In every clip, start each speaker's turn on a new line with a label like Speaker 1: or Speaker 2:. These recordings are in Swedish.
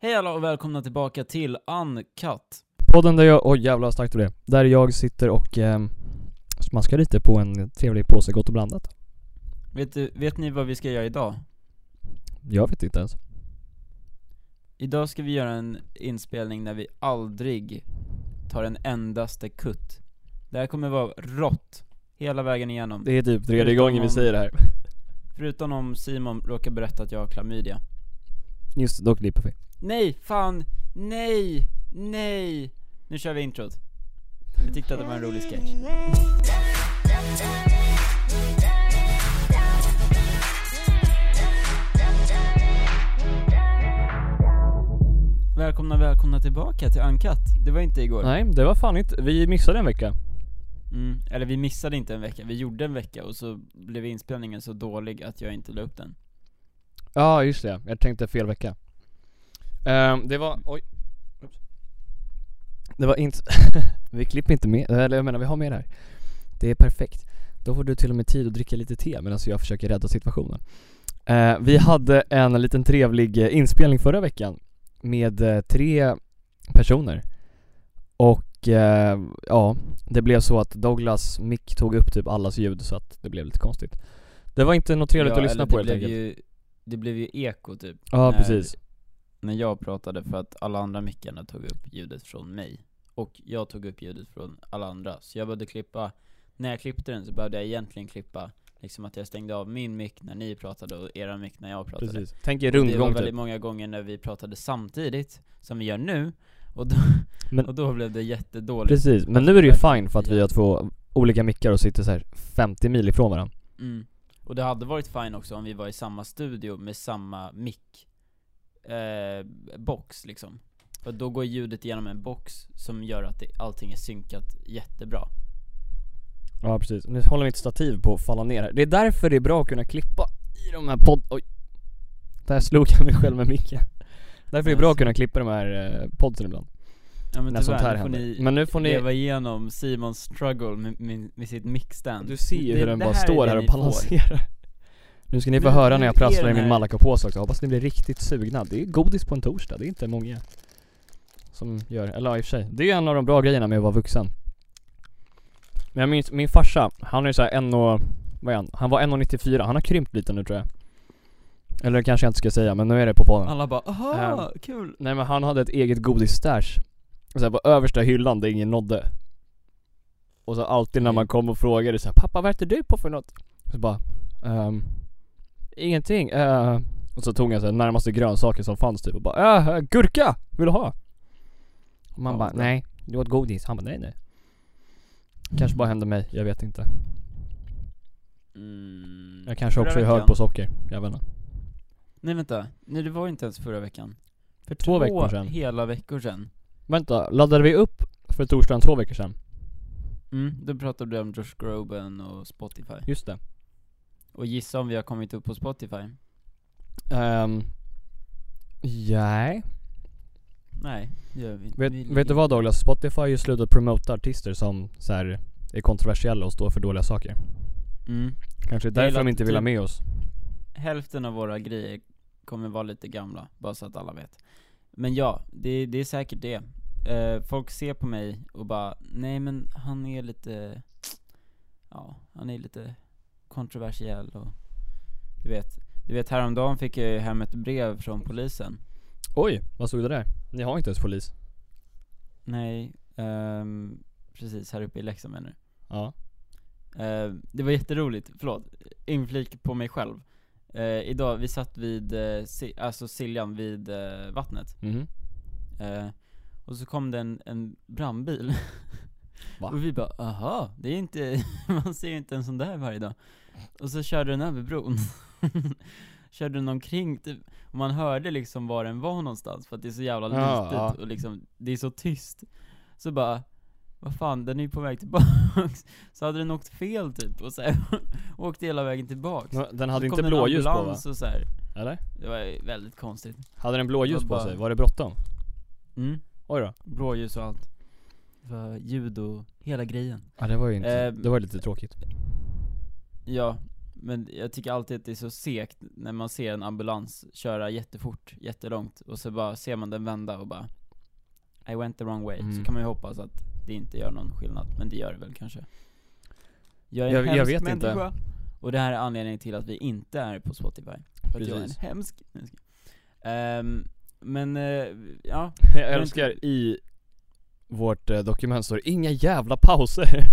Speaker 1: Hej alla och välkomna tillbaka till Uncut.
Speaker 2: Podden där jag, oj jävlar starkt det blev. Där jag sitter och ehm, smaskar lite på en trevlig påse Gott och blandat.
Speaker 1: Vet, du, vet ni vad vi ska göra idag?
Speaker 2: Jag vet inte ens.
Speaker 1: Idag ska vi göra en inspelning där vi aldrig tar en endaste kutt. Det här kommer vara rått, hela vägen igenom.
Speaker 2: Det är typ
Speaker 1: tredje gången vi säger
Speaker 2: det här.
Speaker 1: Förutom om Simon råkar berätta att jag har klamydia.
Speaker 2: Just det, då klipper vi.
Speaker 1: Nej, fan, nej, nej! Nu kör vi introt. Vi tyckte att det var en rolig sketch. Välkomna, välkomna tillbaka till Uncut. Det var inte igår.
Speaker 2: Nej, det var fan inte, vi missade en vecka.
Speaker 1: Mm, eller vi missade inte en vecka, vi gjorde en vecka och så blev inspelningen så dålig att jag inte la upp den.
Speaker 2: Ja, just det. Jag tänkte fel vecka. Ehm, det var, oj. Oops. Det var inte, vi klipper inte med, eller jag menar vi har med det här. Det är perfekt. Då får du till och med tid att dricka lite te medan jag försöker rädda situationen. Ehm, vi hade en liten trevlig eh, inspelning förra veckan med eh, tre personer. Och eh, ja, det blev så att Douglas mick tog upp typ allas ljud så att det blev lite konstigt. Det var inte något trevligt
Speaker 1: Ja,
Speaker 2: att lyssna
Speaker 1: eller
Speaker 2: på
Speaker 1: det
Speaker 2: helt
Speaker 1: blev
Speaker 2: enkelt.
Speaker 1: ju, Det blev ju eko typ,
Speaker 2: Ja,
Speaker 1: när-
Speaker 2: precis.
Speaker 1: när jag pratade för att alla andra mickarna tog upp ljudet från mig. Och jag tog upp ljudet från alla andra, så jag behövde klippa, när jag klippte den så behövde jag egentligen klippa liksom att jag stängde av min mick när ni pratade och era mick när jag pratade.
Speaker 2: Precis. Tänk er
Speaker 1: Det var
Speaker 2: rundgång
Speaker 1: väldigt
Speaker 2: typ.
Speaker 1: många gånger när vi pratade samtidigt, som vi gör nu, och då,
Speaker 2: Men-
Speaker 1: och då blev det jättedåligt.
Speaker 2: Precis, men nu är det ju fine för att vi har två olika mickar och sitter så här 50 mil ifrån varandra.
Speaker 1: Mm. Och det hade varit fine också om vi var i samma studio med samma mick eh, box liksom. För då går ljudet igenom en box som gör att det, allting är synkat jättebra.
Speaker 2: Ja precis, nu håller mitt stativ på att falla ner här. Det är därför det är bra att kunna klippa i de här podd... Oj! Där slog jag mig själv med micken. Därför är det bra att kunna klippa de här eh, podden ibland.
Speaker 1: Ja men
Speaker 2: När sånt här
Speaker 1: nu får
Speaker 2: händer.
Speaker 1: ni
Speaker 2: Men nu får ni-
Speaker 1: leva igenom Simons struggle med, med, med sitt mickstand.
Speaker 2: Du ser ju
Speaker 1: Det-
Speaker 2: hur den
Speaker 1: det
Speaker 2: bara
Speaker 1: här är
Speaker 2: står
Speaker 1: det
Speaker 2: här och
Speaker 1: ni får.
Speaker 2: balanserar. Nu ska ni få
Speaker 1: Men
Speaker 2: höra
Speaker 1: hur
Speaker 2: när jag
Speaker 1: är
Speaker 2: prasslar i
Speaker 1: den
Speaker 2: min
Speaker 1: här-
Speaker 2: Malaco-påse också, hoppas ni blir riktigt sugna. Det är godis på en torsdag, det är inte många som gör, eller ja, i och för sig. Det är en av de bra grejerna med att vara vuxen. Men jag minns, min farsa, han är ju såhär en och, vad är han? Han var 1,94, han har krympt lite nu tror jag. Eller det kanske jag inte ska säga, men nu är det på podden.
Speaker 1: Alla bara 'Aha,
Speaker 2: Äh,
Speaker 1: kul'
Speaker 2: Nej men han hade ett eget godisstash. Och så här på översta hyllan där ingen nådde. Och så alltid när man kom och frågade så här, 'Pappa vad äter du på för något?' Så bara ehm, 'Ingenting, eh." Och så tog han så här, närmaste grönsaker som fanns typ och bara äh, gurka! Vill du ha?' Och man
Speaker 1: Ja,
Speaker 2: bara
Speaker 1: bra.
Speaker 2: 'Nej, du åt godis' Han bara 'Nej nej' Kanske bara hände mig, jag vet inte.
Speaker 1: mm.
Speaker 2: Jag kanske
Speaker 1: Förra
Speaker 2: också är hög
Speaker 1: veckan.
Speaker 2: på socker, jag vet inte.
Speaker 1: Nej vänta, nej det var inte ens förra veckan. För
Speaker 2: Två veckor sedan.
Speaker 1: hela veckor sedan.
Speaker 2: Vänta, laddade vi upp för torsdagen två veckor sedan?
Speaker 1: Mm, då pratade du om Josh Groban och Spotify.
Speaker 2: Just det.
Speaker 1: Och gissa om vi har kommit upp på Spotify?
Speaker 2: Ehm.. nej.
Speaker 1: Nej, det gör vi inte.
Speaker 2: Vet,
Speaker 1: Vi ligger-
Speaker 2: vet du vad Douglas? Spotify har ju slutat promota artister som så här är kontroversiella och står för dåliga saker.
Speaker 1: Mm.
Speaker 2: Kanske
Speaker 1: Det är
Speaker 2: därför de
Speaker 1: väl
Speaker 2: inte vill ha
Speaker 1: typ-
Speaker 2: med oss.
Speaker 1: Hälften av våra grejer kommer vara lite gamla, bara så att alla vet. Men ja, det, det är säkert det. Eh, folk ser på mig och bara, nej men han är lite, ja, han är lite kontroversiell och du vet. Du vet häromdagen fick jag ju hem ett brev från polisen.
Speaker 2: Oj, vad stod det där? Ni har inte ens polis.
Speaker 1: Nej, ehm, precis här uppe i Leksand menar du?
Speaker 2: Ja.
Speaker 1: Eh, det var jätteroligt, förlåt, inflik på mig själv. Eh, idag, vi satt vid, eh, si- alltså Siljan vid eh, vattnet.
Speaker 2: Mhm.
Speaker 1: Eh, och så kom det en, en brandbil.
Speaker 2: Va?
Speaker 1: Och vi bara, aha, det är inte, man ser ju inte en sån där varje dag. Och så körde den över bron. körde den omkring typ, och man hörde liksom var den var någonstans för att det är så jävla
Speaker 2: Ja,
Speaker 1: litet
Speaker 2: ja.
Speaker 1: och liksom, det är så tyst. Så bara, vad fan, den är ju på väg tillbaks. Så hade den åkt fel typ, och så här, åkte hela vägen tillbaks.
Speaker 2: Men Den
Speaker 1: Så
Speaker 2: hade
Speaker 1: kom
Speaker 2: inte
Speaker 1: det en
Speaker 2: blåljus på va?
Speaker 1: ambulans och så här.
Speaker 2: Eller?
Speaker 1: Det var väldigt konstigt.
Speaker 2: Hade den blåljus
Speaker 1: Jag
Speaker 2: på
Speaker 1: bara-
Speaker 2: sig? Var det bråttom?
Speaker 1: Mm.
Speaker 2: Oj då.
Speaker 1: Blåljus och allt. Det var ljud och hela grejen.
Speaker 2: Ja det var ju inte,
Speaker 1: Eh,
Speaker 2: det var lite tråkigt.
Speaker 1: Ja, Men jag tycker alltid att det är så segt när man ser en ambulans köra jättefort, jättelångt, och så bara ser man den vända och bara I went the wrong way,
Speaker 2: Mm.
Speaker 1: så kan man ju hoppas att det inte gör någon skillnad, men det gör det väl kanske Jag är en
Speaker 2: Jag- jag
Speaker 1: hemsk
Speaker 2: vet inte.
Speaker 1: människa, och det här är anledningen till att vi inte är på Spotify För att jag är en
Speaker 2: Precis.
Speaker 1: hemsk människa. Ehm, Men, eh, ja,
Speaker 2: Jag
Speaker 1: Men-
Speaker 2: älskar i vårt eh, dokument står det, inga jävla pauser.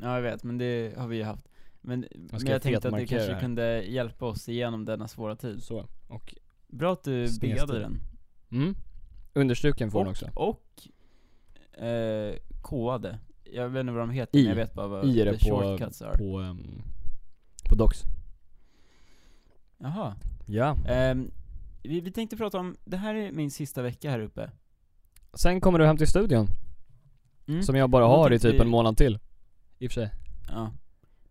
Speaker 1: Ja jag vet, men det har vi ju haft. Men, men
Speaker 2: ska
Speaker 1: jag tänkte att du
Speaker 2: fetmarkera
Speaker 1: kanske
Speaker 2: här.
Speaker 1: kunde hjälpa oss igenom denna svåra tid.
Speaker 2: Så, och
Speaker 1: Bra att du
Speaker 2: Snestil.
Speaker 1: beade den.
Speaker 2: mm. Understruken får den också.
Speaker 1: Och eh, koade. Jag vet inte vad de heter,
Speaker 2: I.
Speaker 1: men jag vet bara vad
Speaker 2: I är det
Speaker 1: the
Speaker 2: på-
Speaker 1: shortcuts are.
Speaker 2: På, ehm, på Docs.
Speaker 1: Jaha.
Speaker 2: Ja.
Speaker 1: Ehm, vi, vi tänkte prata om, det här är min sista vecka här uppe.
Speaker 2: Sen kommer du hem till studion,
Speaker 1: Mm.
Speaker 2: som jag bara
Speaker 1: Då
Speaker 2: har i
Speaker 1: tänkte
Speaker 2: typ
Speaker 1: vi-
Speaker 2: en månad till. I och för sig.
Speaker 1: Ja.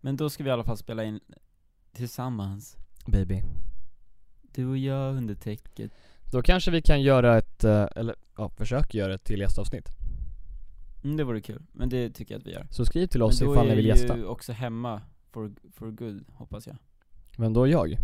Speaker 1: Men då ska vi i alla fall spela in tillsammans.
Speaker 2: Baby.
Speaker 1: Du och jag under täcket.
Speaker 2: Då kanske vi kan göra ett, eh, eller ja, försök göra ett till gästavsnitt.
Speaker 1: Mm, det vore kul, men det tycker jag att vi gör.
Speaker 2: Så skriv till oss
Speaker 1: men då
Speaker 2: ifall
Speaker 1: är
Speaker 2: ni vill
Speaker 1: jag
Speaker 2: gästa.
Speaker 1: ju också hemma for, for good, hoppas jag.
Speaker 2: Vem då jag?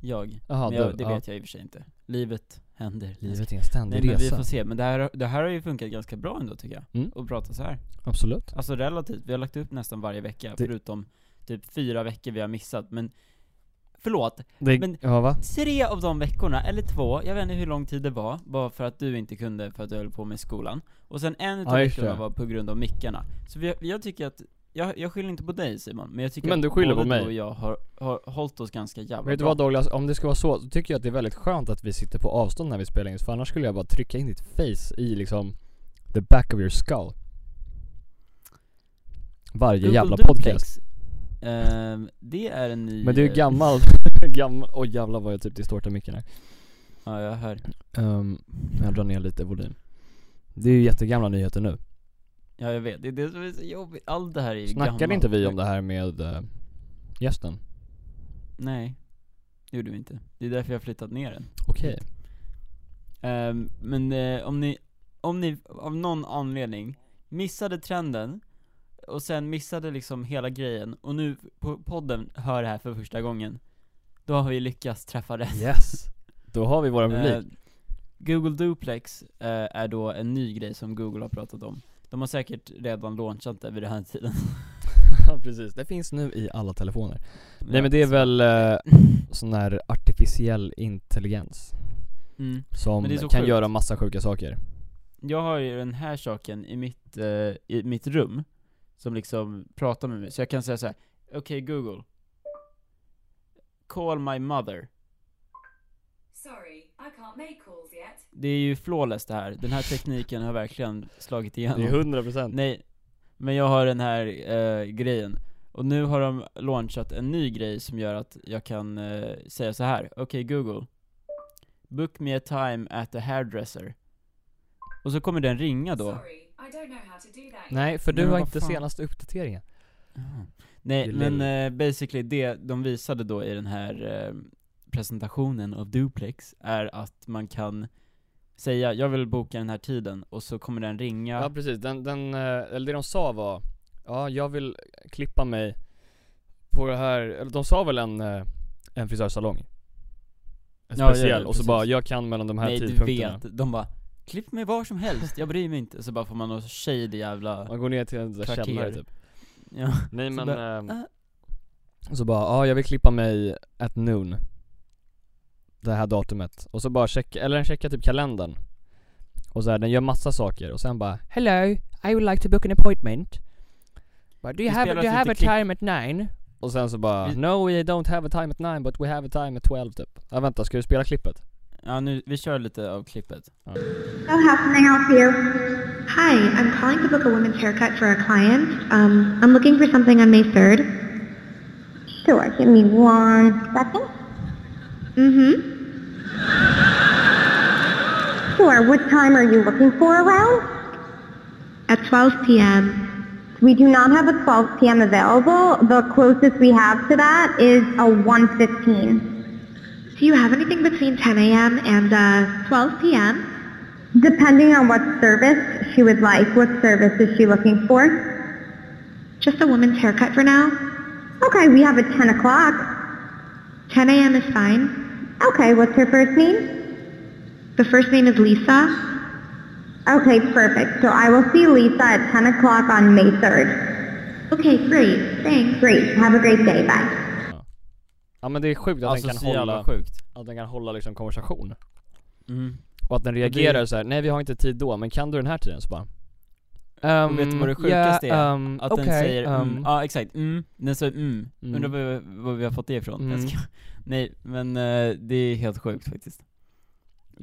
Speaker 1: Jag.
Speaker 2: Jaha,
Speaker 1: men jag,
Speaker 2: du,
Speaker 1: det
Speaker 2: ja.
Speaker 1: vet jag i och för sig inte. Livet händer.
Speaker 2: Livet är en ständig
Speaker 1: Nej men vi
Speaker 2: resa.
Speaker 1: får se, men det här, det här har ju funkat ganska bra ändå tycker jag.
Speaker 2: Mm.
Speaker 1: Att prata så här.
Speaker 2: Absolut.
Speaker 1: Alltså relativt, vi har lagt upp nästan varje vecka,
Speaker 2: Det-
Speaker 1: förutom typ fyra veckor vi har missat, men Förlåt,
Speaker 2: Det,
Speaker 1: Men-
Speaker 2: ja va?
Speaker 1: tre av de veckorna, eller två, jag vet inte hur lång tid det var, bara för att du inte kunde för att du höll på med skolan. Och sen en utav
Speaker 2: Ja, just
Speaker 1: veckorna
Speaker 2: det.
Speaker 1: var på grund av mickarna. Så vi, jag tycker att, jag, jag skyller inte på dig Simon, men jag tycker
Speaker 2: Men du
Speaker 1: att
Speaker 2: skyller
Speaker 1: både
Speaker 2: på mig.
Speaker 1: du och jag har, har hållit oss ganska jävla
Speaker 2: Vet du
Speaker 1: bra.
Speaker 2: vad Douglas, om det ska vara så, så tycker jag att det är väldigt skönt att vi sitter på avstånd när vi spelar in, för annars skulle jag bara trycka in ditt face i liksom the back of your skull. Varje
Speaker 1: Google
Speaker 2: jävla
Speaker 1: Duplex,
Speaker 2: podcast.
Speaker 1: ehm, det är en ny...
Speaker 2: Men det är ju
Speaker 1: eh,
Speaker 2: gammal, gammal, oj jävlar vad jag typ distortar micken här.
Speaker 1: Ja, jag hör.
Speaker 2: Ehm, jag drar ner lite volym. Det är ju jättegamla nyheter nu.
Speaker 1: Ja, jag vet. Det är det som är så jobbigt. Allt det här är ju
Speaker 2: Snackade
Speaker 1: gammalt.
Speaker 2: inte vi om det här med eh, gästen?
Speaker 1: Nej. Det gjorde vi inte. Det är därför jag har flyttat ner den.
Speaker 2: Okej.
Speaker 1: Ehm, men eh, om ni, om ni av någon anledning missade trenden och sen missade liksom hela grejen och nu på podden hör det här för första gången. Då har vi lyckats träffa rätt.
Speaker 2: Yes! Då har vi våra publik.
Speaker 1: Eh, Google Duplex eh, är då en ny grej som Google har pratat om. De har säkert redan launchat det vid den här tiden.
Speaker 2: Ja precis, det finns nu i alla telefoner. Nej men det är väl eh, sån här artificiell intelligens
Speaker 1: Mm.
Speaker 2: som
Speaker 1: Men det är
Speaker 2: kan
Speaker 1: så sjukt.
Speaker 2: göra massa sjuka saker.
Speaker 1: Jag har ju den här saken i mitt, eh, i mitt rum, som liksom pratar med mig, så jag kan säga så här: okej Google, call my mother.
Speaker 3: Sorry, I can't make calls yet.
Speaker 1: Det är ju flawless det här, den här tekniken har verkligen slagit igenom.
Speaker 2: Det är 100% procent.
Speaker 1: Nej, men jag har den här eh, grejen. Och nu har de launchat en ny grej som gör att jag kan eh, säga så här. okej Google, book me a time at the hairdresser. Och så kommer den ringa då.
Speaker 3: Sorry, I don't know how to do that.
Speaker 2: Nej för
Speaker 1: Nej,
Speaker 2: du
Speaker 1: men
Speaker 2: har
Speaker 1: vad
Speaker 2: inte
Speaker 1: fan.
Speaker 2: senaste uppdateringen.
Speaker 1: Jaha. Nej
Speaker 2: Det
Speaker 1: men
Speaker 2: lär-
Speaker 1: eh, basically det de visade då i den här eh, presentationen av Duplex är att man kan säga jag vill boka den här tiden och så kommer den ringa
Speaker 2: Ja, precis, den, den, eh, eller det de sa var Ja jag vill klippa mig på det här, eller de sa väl en, eh, en frisörsalong? En
Speaker 1: Ja, ja,
Speaker 2: speciell, och så
Speaker 1: precis.
Speaker 2: bara jag kan mellan de här
Speaker 1: Nej du
Speaker 2: tidpunkterna.
Speaker 1: vet, de bara klipp mig var som helst, jag bryr mig inte. Så bara får man någon shady jävla,
Speaker 2: Man går ner till en sån där
Speaker 1: Kvarter.
Speaker 2: källare typ.
Speaker 1: ja,
Speaker 2: Nej
Speaker 1: Så
Speaker 2: men,
Speaker 1: bara,
Speaker 2: ehm, så bara, ja jag vill klippa mig at noon Det här datumet, och så bara checka, eller den checkar typ kalendern Och så här, den gör massa saker och sen bara Hello, I would like to book an appointment But do you
Speaker 1: Det
Speaker 2: have,
Speaker 1: spelas
Speaker 2: do you have a
Speaker 1: lite klick.
Speaker 2: time at nine? Och sen så bara,
Speaker 1: Vi-
Speaker 2: no we don't have a time at nine but we have a time at 12 typ Ja vänta, ska du spela klippet?
Speaker 1: ja nu, vi kör lite av klippet.
Speaker 4: Hello, how can I help you? Hi, I'm calling to book a woman's haircut for a client. Um, I'm looking for something on May 3rd. Sure, give me one second. Mm-hmm. Sure, what time are you looking for around? At 12 p.m. We do not have a 12 p.m. available. The closest we have to that is a 1.15. Do you have anything between 10 a.m. and uh, 12 p.m.? Depending on what service she would like, what service is she looking for? Just a woman's haircut for now. Okay, we have a 10 o'clock.
Speaker 5: 10 a.m. is fine.
Speaker 4: Okay, what's her first name?
Speaker 5: The first name is Lisa.
Speaker 4: Okay, perfect. So I will see Lisa at 10 o'clock on May 3rd.
Speaker 5: Okay, great. Thanks.
Speaker 4: Great. Have a great day. Bye.
Speaker 2: Ja men det är sjukt att
Speaker 1: Alltså
Speaker 2: den
Speaker 1: så
Speaker 2: kan
Speaker 1: jävla
Speaker 2: hålla,
Speaker 1: sjukt.
Speaker 2: att den kan hålla liksom konversation
Speaker 1: Mm.
Speaker 2: Och att den reagerar så här. nej vi har inte tid då, men kan du den här tiden? Så bara
Speaker 1: Och
Speaker 2: Mm,
Speaker 1: vet du vad det sjukaste är? Att den säger mm, ja exakt, mm, den säger mm.
Speaker 2: um, Mm.
Speaker 1: Undrar vad vi, vad vi har fått det ifrån.
Speaker 2: Mm.
Speaker 1: Jag ska, nej men eh, det är helt sjukt faktiskt.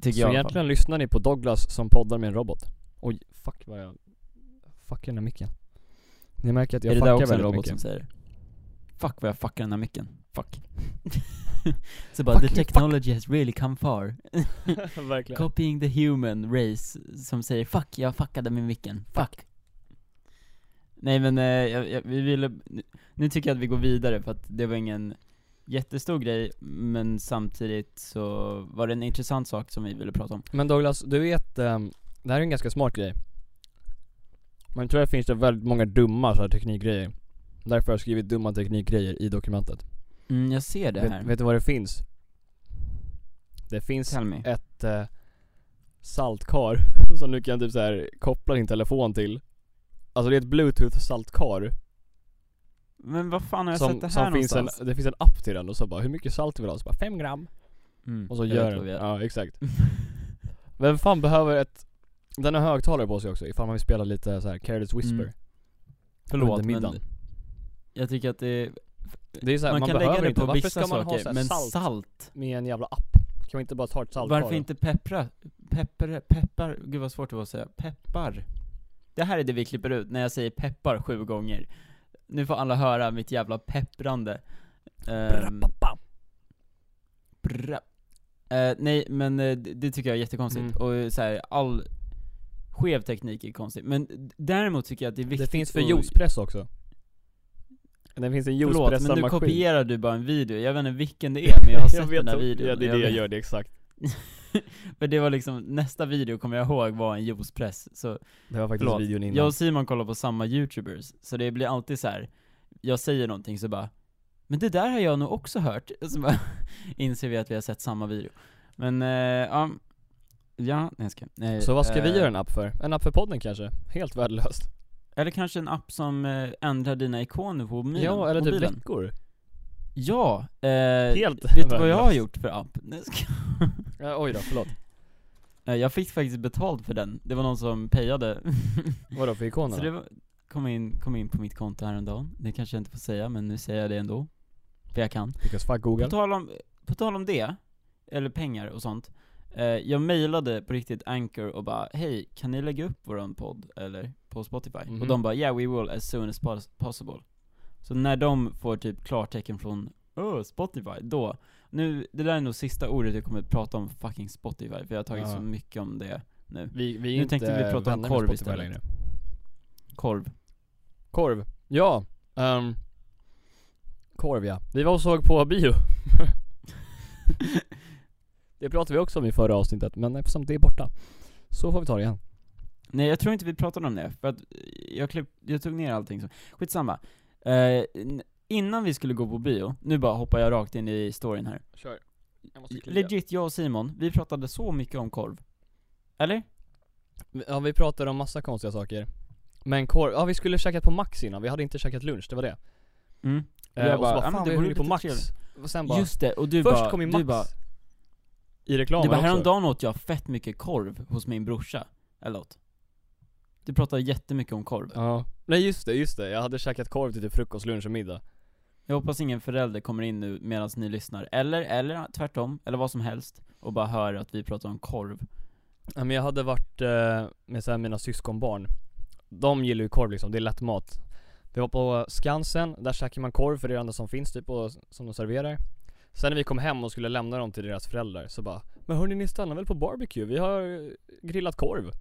Speaker 1: Tycker jag
Speaker 2: Så
Speaker 1: i alla fall.
Speaker 2: egentligen lyssnar ni på Douglas som poddar med en robot Oj, fuck vad jag... Fuck den där micken Ni märker att jag
Speaker 1: Är det där
Speaker 2: fuckar
Speaker 1: också en
Speaker 2: väldigt
Speaker 1: robot
Speaker 2: mycket
Speaker 1: som säger det? Fuck vad jag fuckar den här micken, fuck. Så bara
Speaker 2: Fuck
Speaker 1: the
Speaker 2: you, fuck."
Speaker 1: technology has really come far.
Speaker 2: Verkligen
Speaker 1: Copying the human race som säger 'fuck, jag fuckade med micken, fuck' Nej men, eh, jag, jag, vi ville, nu- nu tycker jag att vi går vidare för att det var ingen jättestor grej, men samtidigt så var det en intressant sak som vi ville prata om
Speaker 2: Men Douglas, du vet, ehm, det här är en ganska smart grej Men tyvärr finns det väldigt många dumma så här teknikgrejer Därför har jag skrivit dumma teknikgrejer i dokumentet
Speaker 1: mm, jag ser det här,
Speaker 2: vet, vet du vad det finns? Det finns
Speaker 1: tell me
Speaker 2: ett eh, saltkar som du kan typ så här koppla din telefon till Alltså det är ett bluetooth saltkar
Speaker 1: Men vad fan har jag sett
Speaker 2: som,
Speaker 1: det här
Speaker 2: som finns en,
Speaker 1: någonstans?
Speaker 2: det finns en app till den och så bara hur mycket salt du vill ha? Så bara 5 gram
Speaker 1: Mm,
Speaker 2: Och så
Speaker 1: jag
Speaker 2: gör
Speaker 1: vet vad
Speaker 2: den,
Speaker 1: vi gör.
Speaker 2: ja exakt Vem fan behöver ett Den har högtalare på sig också ifall man vill spela lite så här Careless Whisper
Speaker 1: Mm. Förlåt
Speaker 2: under middagen.
Speaker 1: men, jag tycker att det,
Speaker 2: Det är så här,
Speaker 1: man,
Speaker 2: man,
Speaker 1: kan
Speaker 2: behöver
Speaker 1: lägga det
Speaker 2: inte,
Speaker 1: på
Speaker 2: varför
Speaker 1: vissa
Speaker 2: ska man ha så
Speaker 1: saker,
Speaker 2: här
Speaker 1: men
Speaker 2: salt,
Speaker 1: salt
Speaker 2: med en jävla app? Kan man inte bara ta ett saltkar
Speaker 1: Varför
Speaker 2: då?
Speaker 1: inte peppra? Peppar, peppar, gud vad svårt det var att säga. Peppar. Det här är det vi klipper ut när jag säger peppar sju gånger. Nu får alla höra mitt jävla pepprande. Ehm,
Speaker 2: Brappapam.
Speaker 1: bra. Eh, nej men eh, det, det tycker jag är jättekonstigt,
Speaker 2: Mm.
Speaker 1: och eh, så här, all skev teknik är konstigt. Men d- däremot tycker jag att det är viktigt
Speaker 2: Det finns för
Speaker 1: att-
Speaker 2: juicepress också Det finns en
Speaker 1: Förlåt men nu
Speaker 2: juicepressarmaskin
Speaker 1: kopierar du bara en video, jag vet inte vilken det är men jag har sett den här
Speaker 2: så-
Speaker 1: videon
Speaker 2: Ja det är
Speaker 1: Jag
Speaker 2: det jag
Speaker 1: vet-
Speaker 2: gör, det är exakt
Speaker 1: För det var liksom, nästa video kommer jag ihåg var en juicepress, så
Speaker 2: Det var faktiskt
Speaker 1: Förlåt.
Speaker 2: videon innan
Speaker 1: Jag och Simon kollar på samma youtubers, så det blir alltid så här. jag säger någonting så bara Men det där har jag nog också hört, så bara inser vi att vi har sett samma video Men, eh, ja, ja, nej jag ska, nej,
Speaker 2: Så vad ska vi
Speaker 1: eh,
Speaker 2: göra en app för? En app för podden kanske? Helt värdelöst
Speaker 1: Eller kanske en app som eh, ändrar dina ikoner på mobilen?
Speaker 2: Ja eller typ
Speaker 1: mobilen.
Speaker 2: veckor
Speaker 1: Ja! Eh,
Speaker 2: Helt
Speaker 1: Vet du vad jag
Speaker 2: värdelöst.
Speaker 1: har gjort för app? Nej, jag ska-
Speaker 2: Ja, Oj då, förlåt
Speaker 1: Eh, Jag fick faktiskt betalt för den, det var någon som payade
Speaker 2: Vadå för
Speaker 1: Så
Speaker 2: ikonerna?
Speaker 1: det var, kom, in, kom in på mitt konto häromdagen, det kanske jag inte får säga men nu säger jag det ändå För jag kan
Speaker 2: Because fuck
Speaker 1: På
Speaker 2: google
Speaker 1: tal om, på tal om det, eller pengar och sånt eh, Jag mejlade på riktigt Anchor och bara Hej, kan ni lägga upp våran podd, eller? På Spotify?
Speaker 2: Mhm.
Speaker 1: Och de bara Yeah we will as soon as pos- possible Så när de får typ klartecken från Öh, Spotify, då Nu, det där är nog sista ordet jag kommer att prata om fucking Spotify För jag har tagit
Speaker 2: Ja.
Speaker 1: så mycket om det nu
Speaker 2: Vi, vi är
Speaker 1: Nu
Speaker 2: inte
Speaker 1: tänkte vi prata om
Speaker 2: vänner med
Speaker 1: korv
Speaker 2: Spotify
Speaker 1: istället.
Speaker 2: längre.
Speaker 1: Korv
Speaker 2: Korv, ja ehm, Korv ja, vi var och såg på bio Det pratade vi också om i förra avsnittet, men eftersom det är borta Så får vi ta det igen
Speaker 1: Nej jag tror inte vi pratade om det, för att eh, jag, klipp, jag tog ner allting så. Skitsamma. Eh, n- innan vi skulle gå på bio, nu bara hoppar jag rakt in i storyn här.
Speaker 2: Kör jag
Speaker 1: Legit, jag och Simon, vi pratade så mycket om korv. Eller?
Speaker 2: Ja vi pratade om massa konstiga saker Men korv, ja vi skulle käkat på Max innan, vi hade inte käkat lunch, det var det
Speaker 1: Mm.
Speaker 2: Eh,
Speaker 1: Jag
Speaker 2: och så
Speaker 1: bara,
Speaker 2: bara
Speaker 1: ja, men
Speaker 2: fan
Speaker 1: det
Speaker 2: vi
Speaker 1: vore
Speaker 2: höll på
Speaker 1: lite
Speaker 2: Max
Speaker 1: trevligt.
Speaker 2: Och sen bara,
Speaker 1: Just det, och du
Speaker 2: först
Speaker 1: bara,
Speaker 2: kom ju Max
Speaker 1: du bara,
Speaker 2: I reklamen
Speaker 1: du bara
Speaker 2: också.
Speaker 1: häromdagen åt jag fett mycket korv hos min brorsa, eller något. Du pratade jättemycket om korv.
Speaker 2: Ja, nej just det, just det. Jag hade käkat korv till typ frukost, lunch och middag.
Speaker 1: Jag hoppas ingen förälder kommer in nu medan ni lyssnar, eller, eller tvärtom, eller vad som helst, och bara hör att vi pratar om korv.
Speaker 2: Ja, men jag hade varit eh, med så här mina syskonbarn. De gillar ju korv liksom, det är lätt mat. Vi var på Skansen, där käkar man korv för det är det enda som finns typ och som de serverar. Sen när vi kom hem och skulle lämna dem till deras föräldrar så bara Men hörni ni stannar väl på barbecue? Vi har grillat korv.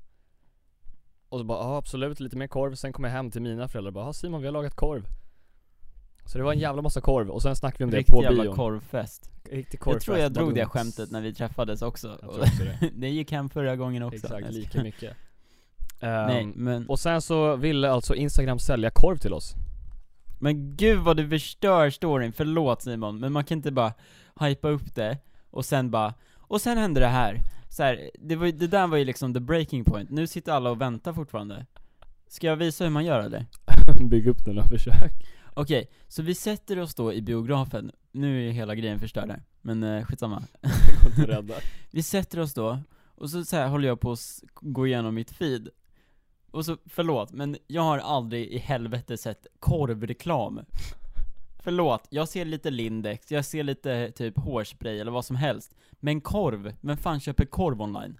Speaker 2: Och så bara ja absolut lite mer korv. Sen kom jag hem till mina föräldrar och bara "Ja, Simon vi har lagat korv. Så det var en jävla massa korv och sen snackade vi om det
Speaker 1: Riktig
Speaker 2: på
Speaker 1: jävla
Speaker 2: bion.
Speaker 1: korvfest.
Speaker 2: Riktig korvfest.
Speaker 1: Jag tror jag
Speaker 2: Vad
Speaker 1: drog det
Speaker 2: dumt.
Speaker 1: skämtet när vi träffades också.
Speaker 2: Jag tror också det.
Speaker 1: det gick hem förra gången också.
Speaker 2: Exakt,
Speaker 1: Nej, jag
Speaker 2: lika
Speaker 1: skojar.
Speaker 2: mycket.
Speaker 1: Nej
Speaker 2: Ehm,
Speaker 1: men,
Speaker 2: och sen så ville alltså Instagram sälja korv till oss.
Speaker 1: Men gud vad du förstör storyn, förlåt Simon, men man kan inte bara hypa upp det och sen bara, och sen hände det här. Så här, det, var, ju- det där var ju liksom the breaking point, nu sitter alla och väntar fortfarande. Ska jag visa hur man gör eller?
Speaker 2: Bygg upp den och försök.
Speaker 1: Okej, så vi sätter oss då i biografen, nu är ju hela grejen förstörd här, men eh, skitsamma.
Speaker 2: Rädda.
Speaker 1: Vi sätter oss då, och så, så här håller jag på att s- gå igenom mitt feed Och så, förlåt, men jag har aldrig i helvete sett korvreklam Förlåt, jag ser lite Lindex, jag ser lite typ hårspray eller vad som helst Men korv, vem fan köper korv online?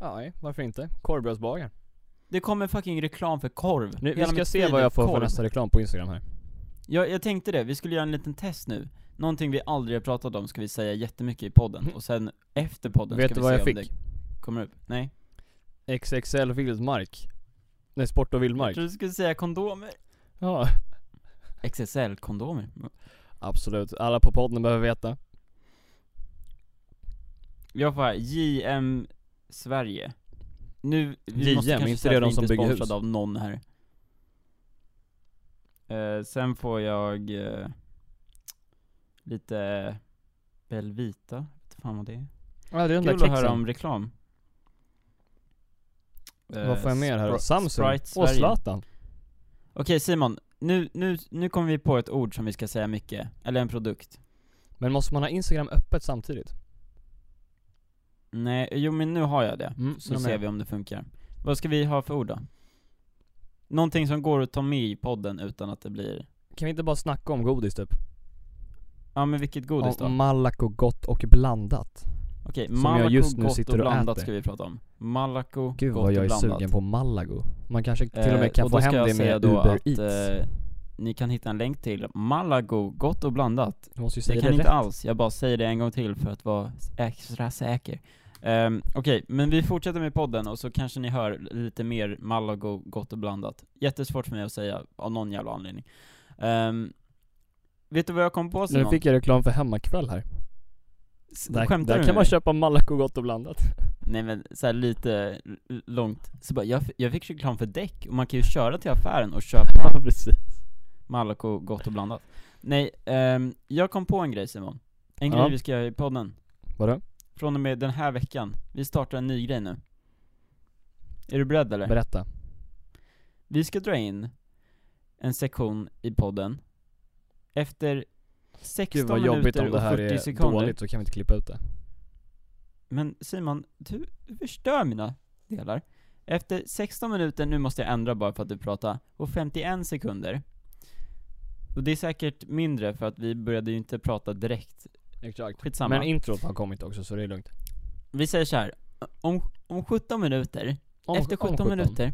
Speaker 2: Ja, nej, varför inte? Korvbrödsbagaren.
Speaker 1: Det kommer fucking reklam för korv
Speaker 2: Nu, vi
Speaker 1: Hela
Speaker 2: ska
Speaker 1: mitt
Speaker 2: se
Speaker 1: feed
Speaker 2: vad
Speaker 1: är
Speaker 2: jag får
Speaker 1: korv.
Speaker 2: för nästa reklam på Instagram här.
Speaker 1: jag, jag tänkte det, vi skulle göra en liten test nu Någonting vi aldrig har pratat om ska vi säga jättemycket i podden, och sen efter podden
Speaker 2: Mm. Vet
Speaker 1: ska
Speaker 2: du
Speaker 1: vi
Speaker 2: vad
Speaker 1: se
Speaker 2: jag
Speaker 1: om
Speaker 2: fick?
Speaker 1: det kommer upp Nej,
Speaker 2: XXL Vildmark. Nej, Sport och
Speaker 1: jag
Speaker 2: Vildmark.
Speaker 1: trodde du skulle säga kondomer
Speaker 2: Ja,
Speaker 1: XSL-kondomer.
Speaker 2: absolut. Alla på podden behöver veta.
Speaker 1: Jag får här, JM Sverige. Nu, vi måste
Speaker 2: JM,
Speaker 1: kanske
Speaker 2: inte
Speaker 1: säga
Speaker 2: det
Speaker 1: att vi
Speaker 2: de som
Speaker 1: inte är
Speaker 2: bygger hus?
Speaker 1: sponsrade av någon här. Eh, sen får jag eh, lite eh, Belvita, vet fan vad det är.
Speaker 2: Ja, det är
Speaker 1: Kul
Speaker 2: den där
Speaker 1: att höra
Speaker 2: kexen.
Speaker 1: om reklam. Eh,
Speaker 2: Vad får jag mer här
Speaker 1: Spri-
Speaker 2: då? Samsung?
Speaker 1: Sprite
Speaker 2: och
Speaker 1: Sverige.
Speaker 2: Zlatan.
Speaker 1: Okej Simon, nu, nu, nu kommer vi på ett ord som vi ska säga mycket, eller en produkt.
Speaker 2: Men måste man ha Instagram öppet samtidigt?
Speaker 1: Nej, jo men nu har jag det.
Speaker 2: Mm,
Speaker 1: Så ser vi om det funkar. Vad ska vi ha för ord då? Någonting som går att ta med i podden utan att det blir...
Speaker 2: Kan vi inte bara snacka om godis typ?
Speaker 1: Ja men vilket godis då?
Speaker 2: Om Malaco gott och blandat.
Speaker 1: Okej,
Speaker 2: mm. jag
Speaker 1: Malaco
Speaker 2: just nu
Speaker 1: gott
Speaker 2: sitter
Speaker 1: och
Speaker 2: och
Speaker 1: blandat
Speaker 2: äter.
Speaker 1: ska vi prata om. Malaco
Speaker 2: Gud
Speaker 1: gott
Speaker 2: vad jag är
Speaker 1: och blandat.
Speaker 2: sugen på Malago. Man kanske till och
Speaker 1: Eh,
Speaker 2: med kan få
Speaker 1: då
Speaker 2: hem
Speaker 1: ska jag
Speaker 2: det
Speaker 1: säga
Speaker 2: med
Speaker 1: då
Speaker 2: Uber
Speaker 1: att,
Speaker 2: Eats.
Speaker 1: eh, ni kan hitta en länk till Malago gott och blandat.
Speaker 2: Du måste ju
Speaker 1: Det
Speaker 2: säga det,
Speaker 1: kan inte
Speaker 2: rätt.
Speaker 1: alls, jag bara säger det en gång till för att vara extra säker. Ehm, Okej, men vi fortsätter med podden och så kanske ni hör lite mer Malago gott och blandat. Jättesvårt för mig att säga av någon jävla anledning. Ehm, vet du vad jag kom på Simon?
Speaker 2: Nu fick jag reklam för hemmakväll här.
Speaker 1: S-
Speaker 2: Där,
Speaker 1: Skämtar
Speaker 2: där
Speaker 1: du
Speaker 2: kan
Speaker 1: med
Speaker 2: man
Speaker 1: mig?
Speaker 2: köpa Malaco gott och blandat.
Speaker 1: Nej men så här lite l- långt, så bara, jag, f- jag fick reklam för däck och man kan ju köra till affären och köpa
Speaker 2: Ja precis.
Speaker 1: Malaco gott och blandat. Nej, ehm, jag kom på en grej Simon. En
Speaker 2: Ja.
Speaker 1: grej vi ska göra i podden.
Speaker 2: Vadå?
Speaker 1: Från och med den här veckan, vi startar en ny grej nu Är du beredd eller?
Speaker 2: Berätta.
Speaker 1: Vi ska dra in en sektion i podden Efter 16
Speaker 2: Gud vad jobbigt
Speaker 1: minuter
Speaker 2: om det
Speaker 1: och
Speaker 2: här
Speaker 1: 40
Speaker 2: är
Speaker 1: sekunder
Speaker 2: dåligt så kan vi inte klippa ut det.
Speaker 1: Men Simon, du, du förstör mina delar Efter 16 minuter, nu måste jag ändra bara för att du pratar, och 51 sekunder Och det är säkert mindre för att vi började ju inte prata direkt
Speaker 2: Exakt.
Speaker 1: Skitsamma
Speaker 2: Men introt har kommit också så det är lugnt.
Speaker 1: Vi säger så här. Om, om 17 minuter
Speaker 2: Om-
Speaker 1: Efter
Speaker 2: om
Speaker 1: 17, minuter,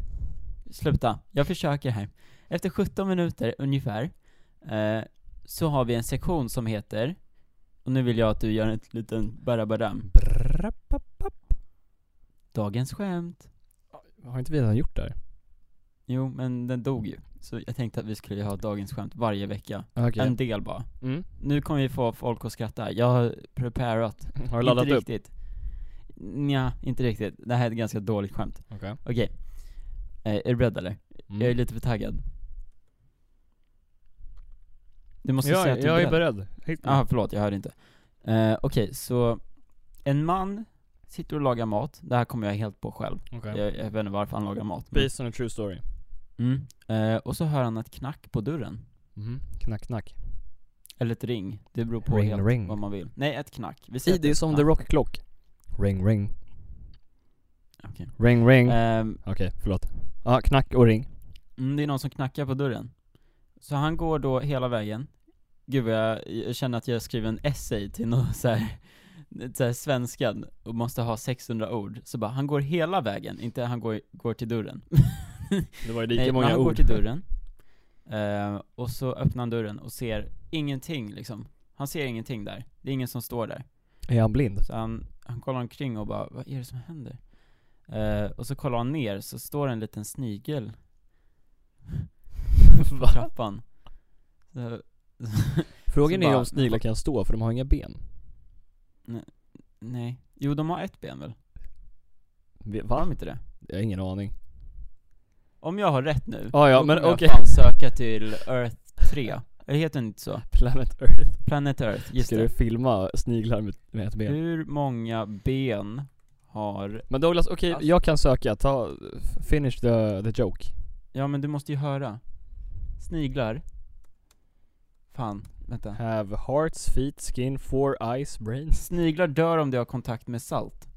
Speaker 1: sluta, jag försöker här. Efter 17 minuter ungefär, eh, så har vi en sektion som heter, och nu vill jag att du gör en liten barabaram,
Speaker 2: Brrrrapapapp. Dagens.
Speaker 1: dagens skämt.
Speaker 2: Har inte vi redan gjort det här?
Speaker 1: Jo, men den dog ju. Så jag tänkte att vi skulle ha dagens skämt varje vecka.
Speaker 2: Ah, Okej.
Speaker 1: En del bara.
Speaker 2: Mm.
Speaker 1: Nu kommer vi få folk att skratta, jag har preparat.
Speaker 2: Har du laddat
Speaker 1: inte
Speaker 2: upp?
Speaker 1: riktigt. Nja, inte riktigt. Det här är ett ganska dåligt skämt.
Speaker 2: Okej.
Speaker 1: Okej. Eh, är du beredd eller?
Speaker 2: Mm.
Speaker 1: Jag är lite för taggad. Du måste
Speaker 2: jag,
Speaker 1: säga att du
Speaker 2: jag är beredd. Hit
Speaker 1: Ah, förlåt, jag hörde inte. Eh, Okej, så en man sitter och lagar mat, det här kommer jag helt på själv.
Speaker 2: Okej.
Speaker 1: Jag, jag vet inte varför han lagar mat. men-
Speaker 2: Based on a true story.
Speaker 1: Mm. Eh, och så hör han ett knack på dörren.
Speaker 2: Mm. Knack knack.
Speaker 1: Eller ett ring, det beror på
Speaker 2: Ring,
Speaker 1: helt
Speaker 2: ring.
Speaker 1: vad man vill. Nej, ett knack. Vi säger
Speaker 2: I,
Speaker 1: att
Speaker 2: det är
Speaker 1: ett
Speaker 2: som
Speaker 1: knack.
Speaker 2: The Rock Clock. Ring ring.
Speaker 1: Okej.
Speaker 2: Ring ring.
Speaker 1: Ehm,
Speaker 2: Okej, förlåt. Ja, ah, knack och ring.
Speaker 1: mm, det är någon som knackar på dörren. Så han går då hela vägen. Gud vad jag, jag känner att jag skriver en essay till någon så här, så här svenskan och måste ha 600 ord. Så bara, han går hela vägen, inte han går, går till dörren.
Speaker 2: Det var ju
Speaker 1: Nej,
Speaker 2: lika
Speaker 1: men
Speaker 2: många
Speaker 1: han
Speaker 2: ord.
Speaker 1: går till dörren, eh, och så öppnar han dörren och ser ingenting liksom. Han ser ingenting där, det är ingen som står där.
Speaker 2: Är han blind?
Speaker 1: Så han, han kollar omkring och bara, vad är det som händer? Eh, och så kollar han ner, så står en liten snigel på trappan. Så,
Speaker 2: Frågan
Speaker 1: Så
Speaker 2: är
Speaker 1: bara-
Speaker 2: om sniglar kan stå för de har inga ben.
Speaker 1: nej. Jo, de har ett ben väl? Har
Speaker 2: Va?
Speaker 1: de inte det?
Speaker 2: Jag har ingen aning.
Speaker 1: Om jag har rätt nu,
Speaker 2: Ah, ja,
Speaker 1: då
Speaker 2: men
Speaker 1: kommer jag
Speaker 2: okej.
Speaker 1: fan söka till Earth 3. Eh, Heter den inte så?
Speaker 2: Planet Earth.
Speaker 1: Planet Earth, just
Speaker 2: Ska du
Speaker 1: det.
Speaker 2: filma sniglar med, med ett ben?
Speaker 1: Hur många ben har...
Speaker 2: Men Douglas, okej,
Speaker 1: Alltså-
Speaker 2: jag kan söka. Ta, finish the, the joke.
Speaker 1: Ja men du måste ju höra. Sniglar. Fan, vänta.
Speaker 2: Have hearts, feet, skin, four eyes, brains.
Speaker 1: Sniglar dör om de har kontakt med salt.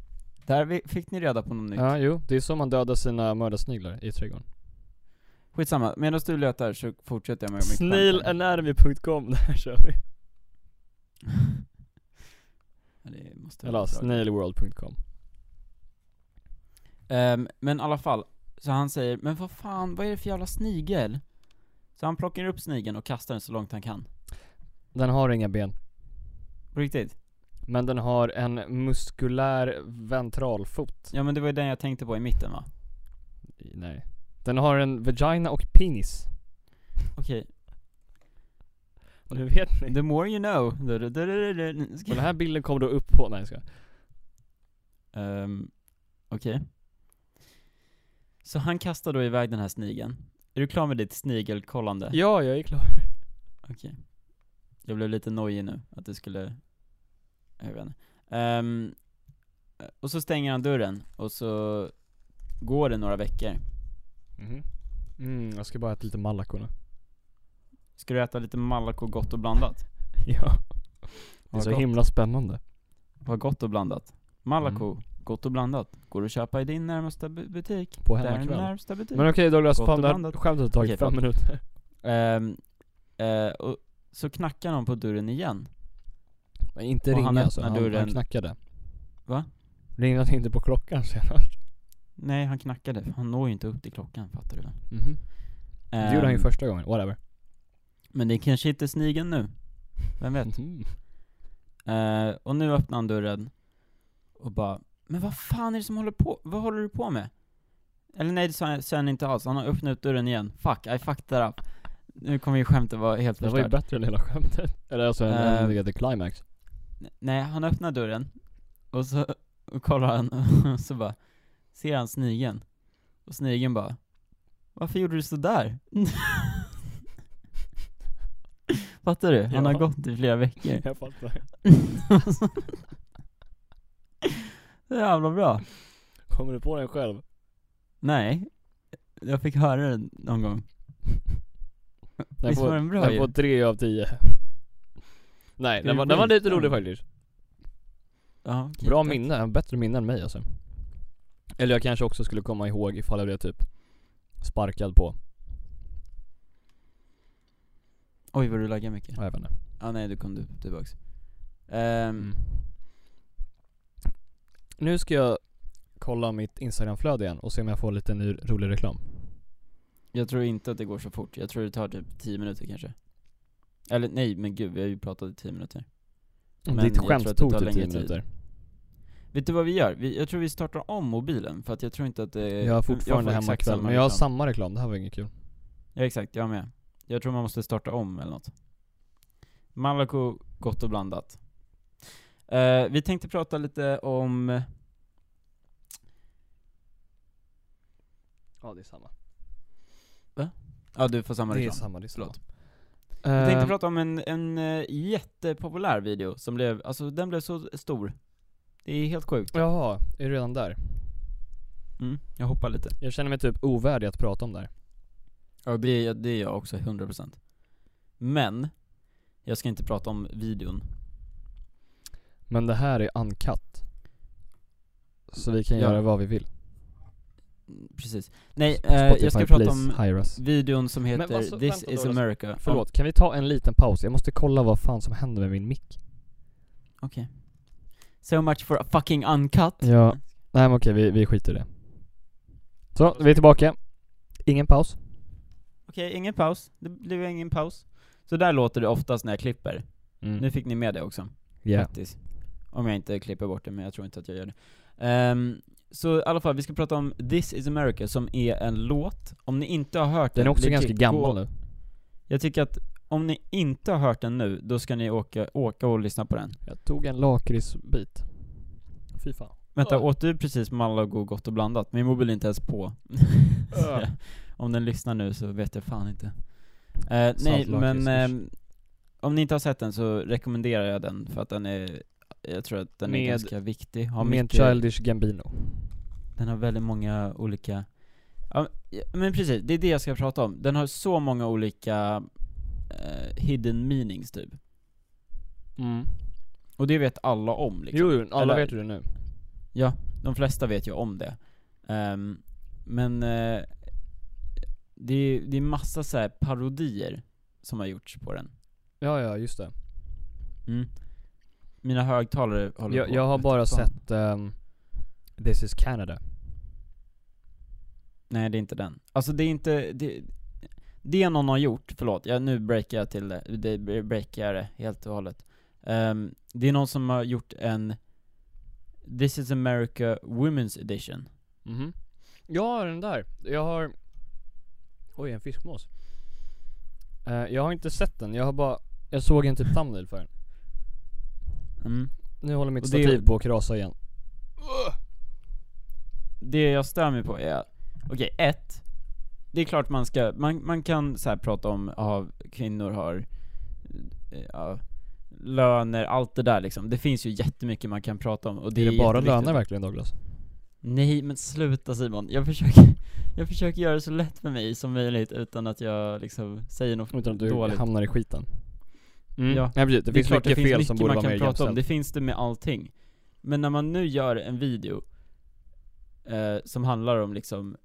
Speaker 1: Där vi- fick ni reda på något nytt.
Speaker 2: Ja, jo. Det är så man dödar sina mördarsniglar i trädgården.
Speaker 1: Skitsamma, medan du letar så fortsätter jag med mitt skämt här.
Speaker 2: Snailanatomy.com, där kör vi.
Speaker 1: Ja, det måste vara
Speaker 2: Eller
Speaker 1: bra.
Speaker 2: snailworld.com.
Speaker 1: Ehm, men i alla fall, så han säger 'Men vad fan, vad är det för jävla snigel?' Så han plockar upp snigeln och kastar den så långt han kan.
Speaker 2: Den har inga ben.
Speaker 1: På riktigt?
Speaker 2: Men den har en muskulär ventralfot.
Speaker 1: Ja men det var ju den jag tänkte på i mitten va?
Speaker 2: Nej. Den har en vagina och penis.
Speaker 1: Okej,
Speaker 2: Nu vet ni.
Speaker 1: the more you know. Du-du-du-du-du.
Speaker 2: Och den här bilden kom då upp på, nej jag skojar.
Speaker 1: Ehm, Okej. Så han kastar då iväg den här snigeln. Är du klar med ditt snigelkollande?
Speaker 2: Ja, jag är klar.
Speaker 1: Okej. Jag blev lite nojig nu, att det skulle... Jag vet inte. Ehm, och så stänger han dörren, och så går det några veckor.
Speaker 2: Mhm. Mm, jag ska bara äta lite Malaco nu.
Speaker 1: Ska du äta lite Malaco gott och blandat?
Speaker 2: Ja. Det är
Speaker 1: Vad
Speaker 2: så
Speaker 1: gott.
Speaker 2: himla spännande.
Speaker 1: Vad gott och blandat? Malaco,
Speaker 2: Mm.
Speaker 1: gott och blandat. Går att köpa i din närmsta bu- butik.
Speaker 2: På
Speaker 1: Där är din
Speaker 2: hemmakväll.
Speaker 1: närmsta butik.
Speaker 2: Men okej Douglas,
Speaker 1: Gott
Speaker 2: fan
Speaker 1: och
Speaker 2: det här
Speaker 1: blandat.
Speaker 2: skämtet har tagit
Speaker 1: Okej,
Speaker 2: fem
Speaker 1: förlåt.
Speaker 2: minuter.
Speaker 1: Ehm, eh, och så knackar någon på dörren igen.
Speaker 2: Men inte
Speaker 1: Och
Speaker 2: ringa
Speaker 1: han
Speaker 2: alltså,
Speaker 1: öppnar
Speaker 2: han,
Speaker 1: dörren.
Speaker 2: han knackade.
Speaker 1: Va?
Speaker 2: Ringde han inte på klockan senast?
Speaker 1: Nej, han knackade. för Han når ju inte upp till klockan, fattar du väl?
Speaker 2: Mhm. Det gjorde han ju
Speaker 1: Ehm,
Speaker 2: första gången, whatever.
Speaker 1: Men det kanske inte är snigeln nu. Vem vet?
Speaker 2: Mhm.
Speaker 1: Eh, och nu öppnar han dörren och bara Men vad fan är det som håller på? Vad håller du på med? Eller nej, det sa han- sa han inte alls. Han har öppnat upp dörren igen. Fuck, I fucked that up. Nu kommer ju skämtet vara helt
Speaker 2: Det var ju
Speaker 1: förstört.
Speaker 2: bättre än hela skämtet. Eller alltså en, en,
Speaker 1: Ehm.
Speaker 2: the climax.
Speaker 1: N- Nej, han öppnar dörren och så och kollar han och så bara ser han snigeln. Och snigeln bara Varför gjorde du sådär? Fattar du? Han har
Speaker 2: Ja.
Speaker 1: gått i flera veckor.
Speaker 2: Jag fattar.
Speaker 1: Det är jävla bra.
Speaker 2: Kommer du på den själv?
Speaker 1: Nej, jag fick höra den någon gång.
Speaker 2: Den
Speaker 1: Visst
Speaker 2: får,
Speaker 1: var den bra
Speaker 2: den
Speaker 1: ju?
Speaker 2: får tre av tio. Nej,
Speaker 1: Är
Speaker 2: den
Speaker 1: du
Speaker 2: var, den var lite
Speaker 1: skitdum?
Speaker 2: rolig faktiskt.
Speaker 1: Ja, okej,
Speaker 2: Bra
Speaker 1: tack.
Speaker 2: minne, bättre minne än mig alltså. Eller jag kanske också skulle komma ihåg ifall jag blev typ sparkad på.
Speaker 1: Oj vad du laggar mycket.
Speaker 2: Ja, Jag vet inte.
Speaker 1: Ah, nej, du kom du tillbaks. Ehm,
Speaker 2: Mm. Nu ska jag kolla mitt instagramflöde igen och se om jag får lite ny rolig reklam.
Speaker 1: Jag tror inte att det går så fort. Jag tror det tar typ 10 minuter kanske. Eller nej, men gud, vi har ju pratat i 10 minuter. Men jag
Speaker 2: Ditt
Speaker 1: tror att det
Speaker 2: skämt tog
Speaker 1: tar
Speaker 2: typ 10
Speaker 1: längre tid. Eh,
Speaker 2: minuter.
Speaker 1: Vet du vad vi gör? Vi, jag tror vi startar om mobilen, för att jag tror inte att det...
Speaker 2: Jag har
Speaker 1: får
Speaker 2: fortfarande
Speaker 1: exakt
Speaker 2: hemmakväll
Speaker 1: samma
Speaker 2: men jag har
Speaker 1: reklam.
Speaker 2: samma reklam, det här var inget kul.
Speaker 1: Ja exakt, jag med. Jag tror man måste starta om eller något. Malaco, gott och blandat. Eh, vi tänkte prata lite om,
Speaker 2: Ja det är samma.
Speaker 1: ja du får samma
Speaker 2: Det är
Speaker 1: reklam.
Speaker 2: samma, Eh, det är samma.
Speaker 1: Förlåt. Vi tänkte prata om en, en eh, jättepopulär video som blev, alltså den blev så stor. Det är helt sjukt.
Speaker 2: Jaha, är du redan där?
Speaker 1: Mm, jag hoppar lite.
Speaker 2: Jag känner mig typ ovärdig att prata om det här.
Speaker 1: Ja det, är- det är jag också, 100%. Men, jag ska inte prata om videon.
Speaker 2: Men det här är uncut. Så vi kan
Speaker 1: Ja.
Speaker 2: göra vad vi vill.
Speaker 1: Mm, Precis. Nej, eh,
Speaker 2: Spotify,
Speaker 1: jag ska prata om
Speaker 2: please, hire us.
Speaker 1: videon som heter
Speaker 2: vad så-
Speaker 1: This
Speaker 2: alltså, vänta
Speaker 1: is
Speaker 2: då, Lars.
Speaker 1: America.
Speaker 2: Förlåt, kan vi ta en liten paus? Jag måste kolla vad fan som händer med min mick.
Speaker 1: Okej. So much for a fucking uncut.
Speaker 2: Ja, nej men okej vi, vi skiter i det. Så, vi är tillbaka. Ingen paus.
Speaker 1: Okej, ingen paus. Det blev ingen paus. Så där låter det oftast när jag klipper.
Speaker 2: Mm.
Speaker 1: Nu fick ni med det också,
Speaker 2: Yeah.
Speaker 1: faktiskt. Om jag inte klipper bort det, men jag tror inte att jag gör det. Ehm, så i alla fall, vi ska prata om This is America, som är en låt. Om ni inte har hört den, typ
Speaker 2: Den är också
Speaker 1: legit,
Speaker 2: ganska gammal
Speaker 1: gå-
Speaker 2: nu.
Speaker 1: Jag tycker att om ni inte har hört den nu, då ska ni åka, åka och lyssna på den.
Speaker 2: Jag tog en lakritsbit. Fy fan.
Speaker 1: Vänta,
Speaker 2: Oj.
Speaker 1: åt du precis Malago gott och blandat? Min mobil är inte ens på. Så
Speaker 2: Öh.
Speaker 1: om den lyssnar nu så vet jag fan inte. Eh, nej,
Speaker 2: Saltlake
Speaker 1: men
Speaker 2: is
Speaker 1: ehm, om ni inte har sett den så rekommenderar jag den för att den är, jag tror att den
Speaker 2: Med-
Speaker 1: är ganska viktig. Har
Speaker 2: med
Speaker 1: mycket,
Speaker 2: Childish Gambino.
Speaker 1: Den har väldigt många olika, ja, ja, men precis, det är det jag ska prata om. Den har så många olika eh, hidden meanings typ.
Speaker 2: Mm.
Speaker 1: Och det vet alla om liksom.
Speaker 2: Jo, jo, alla
Speaker 1: Eller-
Speaker 2: vet ju det nu.
Speaker 1: Ja, de flesta vet ju om det. Ehm, men eh, det, är, det är massa så här parodier som har gjorts på den.
Speaker 2: Ja, ja, just det.
Speaker 1: Mm. Mina högtalare håller
Speaker 2: Jag,
Speaker 1: på typ
Speaker 2: jag har
Speaker 1: att
Speaker 2: bara
Speaker 1: tappa.
Speaker 2: sett ehm, This is Canada.
Speaker 1: Nej det är inte den. Alltså det är inte, det, det någon har gjort, förlåt, jag, nu breakar jag till det, det breakar jag det helt och hållet. Ehm, det är någon som har gjort en This is America Women's Edition.
Speaker 2: Mhm. Ja, den där. Jag har... Oj, en fiskmås. Eh, jag har inte sett den, jag har bara... Jag såg en typ thumbnail för den.
Speaker 1: Mm.
Speaker 2: Nu håller mitt
Speaker 1: Och det-
Speaker 2: stativ på att krasa igen.
Speaker 1: det jag stör mig på är, okej ett, det är klart man ska, man, man kan så här prata om, ja kvinnor har, eh, ja, löner, allt det där liksom. Det finns ju jättemycket man kan prata om och det
Speaker 2: Det är, det bara
Speaker 1: jätteviktigt.
Speaker 2: löner verkligen Douglas?
Speaker 1: Nej men sluta Simon, jag försöker, jag försöker göra det så lätt för mig som möjligt utan att jag liksom säger något
Speaker 2: Utan att du
Speaker 1: dåligt.
Speaker 2: hamnar i skiten. Mm.
Speaker 1: Ja.
Speaker 2: Nej, precis.
Speaker 1: Det,
Speaker 2: Det,
Speaker 1: är
Speaker 2: finns
Speaker 1: klart det
Speaker 2: mycket
Speaker 1: finns
Speaker 2: fel
Speaker 1: mycket
Speaker 2: som borde
Speaker 1: man
Speaker 2: vara
Speaker 1: kan
Speaker 2: mer
Speaker 1: prata om,
Speaker 2: jämställt.
Speaker 1: det finns det med allting. Men när man nu gör en video eh, som handlar om liksom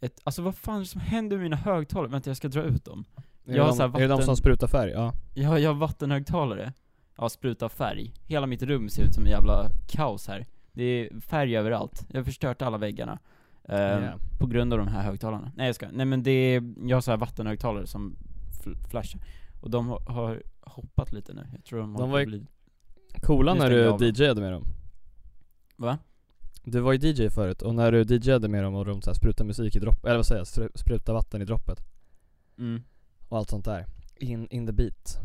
Speaker 1: ett, alltså vad fan är det som händer med mina högtalare? Vänta jag ska dra ut dem.
Speaker 2: Är,
Speaker 1: jag har
Speaker 2: det de,
Speaker 1: så här
Speaker 2: är det de
Speaker 1: vatten-
Speaker 2: som sprutar färg? Ja.
Speaker 1: Jag, har- jag har vattenhögtalare, ja sprutar färg. Hela mitt rum ser ut som en jävla kaos här. Det är färg överallt, jag har förstört alla väggarna. Ehm,
Speaker 2: Yeah.
Speaker 1: På grund av de här högtalarna. Nej jag ska. Nej men det är, jag har så här vattenhögtalare som fl- flashar. Och de har- har hoppat lite nu, jag tror de, håller på
Speaker 2: var
Speaker 1: att
Speaker 2: ju-
Speaker 1: bli-
Speaker 2: Coola
Speaker 1: Nu
Speaker 2: när
Speaker 1: stänger jag av
Speaker 2: du
Speaker 1: den.
Speaker 2: DJade med dem.
Speaker 1: Va?
Speaker 2: Du var ju DJ förut och när du DJade med dem och de så här sprutade musik i droppet, eller vad säger jag, Stru- sprutade vatten i droppet
Speaker 1: Mm.
Speaker 2: och allt sånt där. In, in the beat.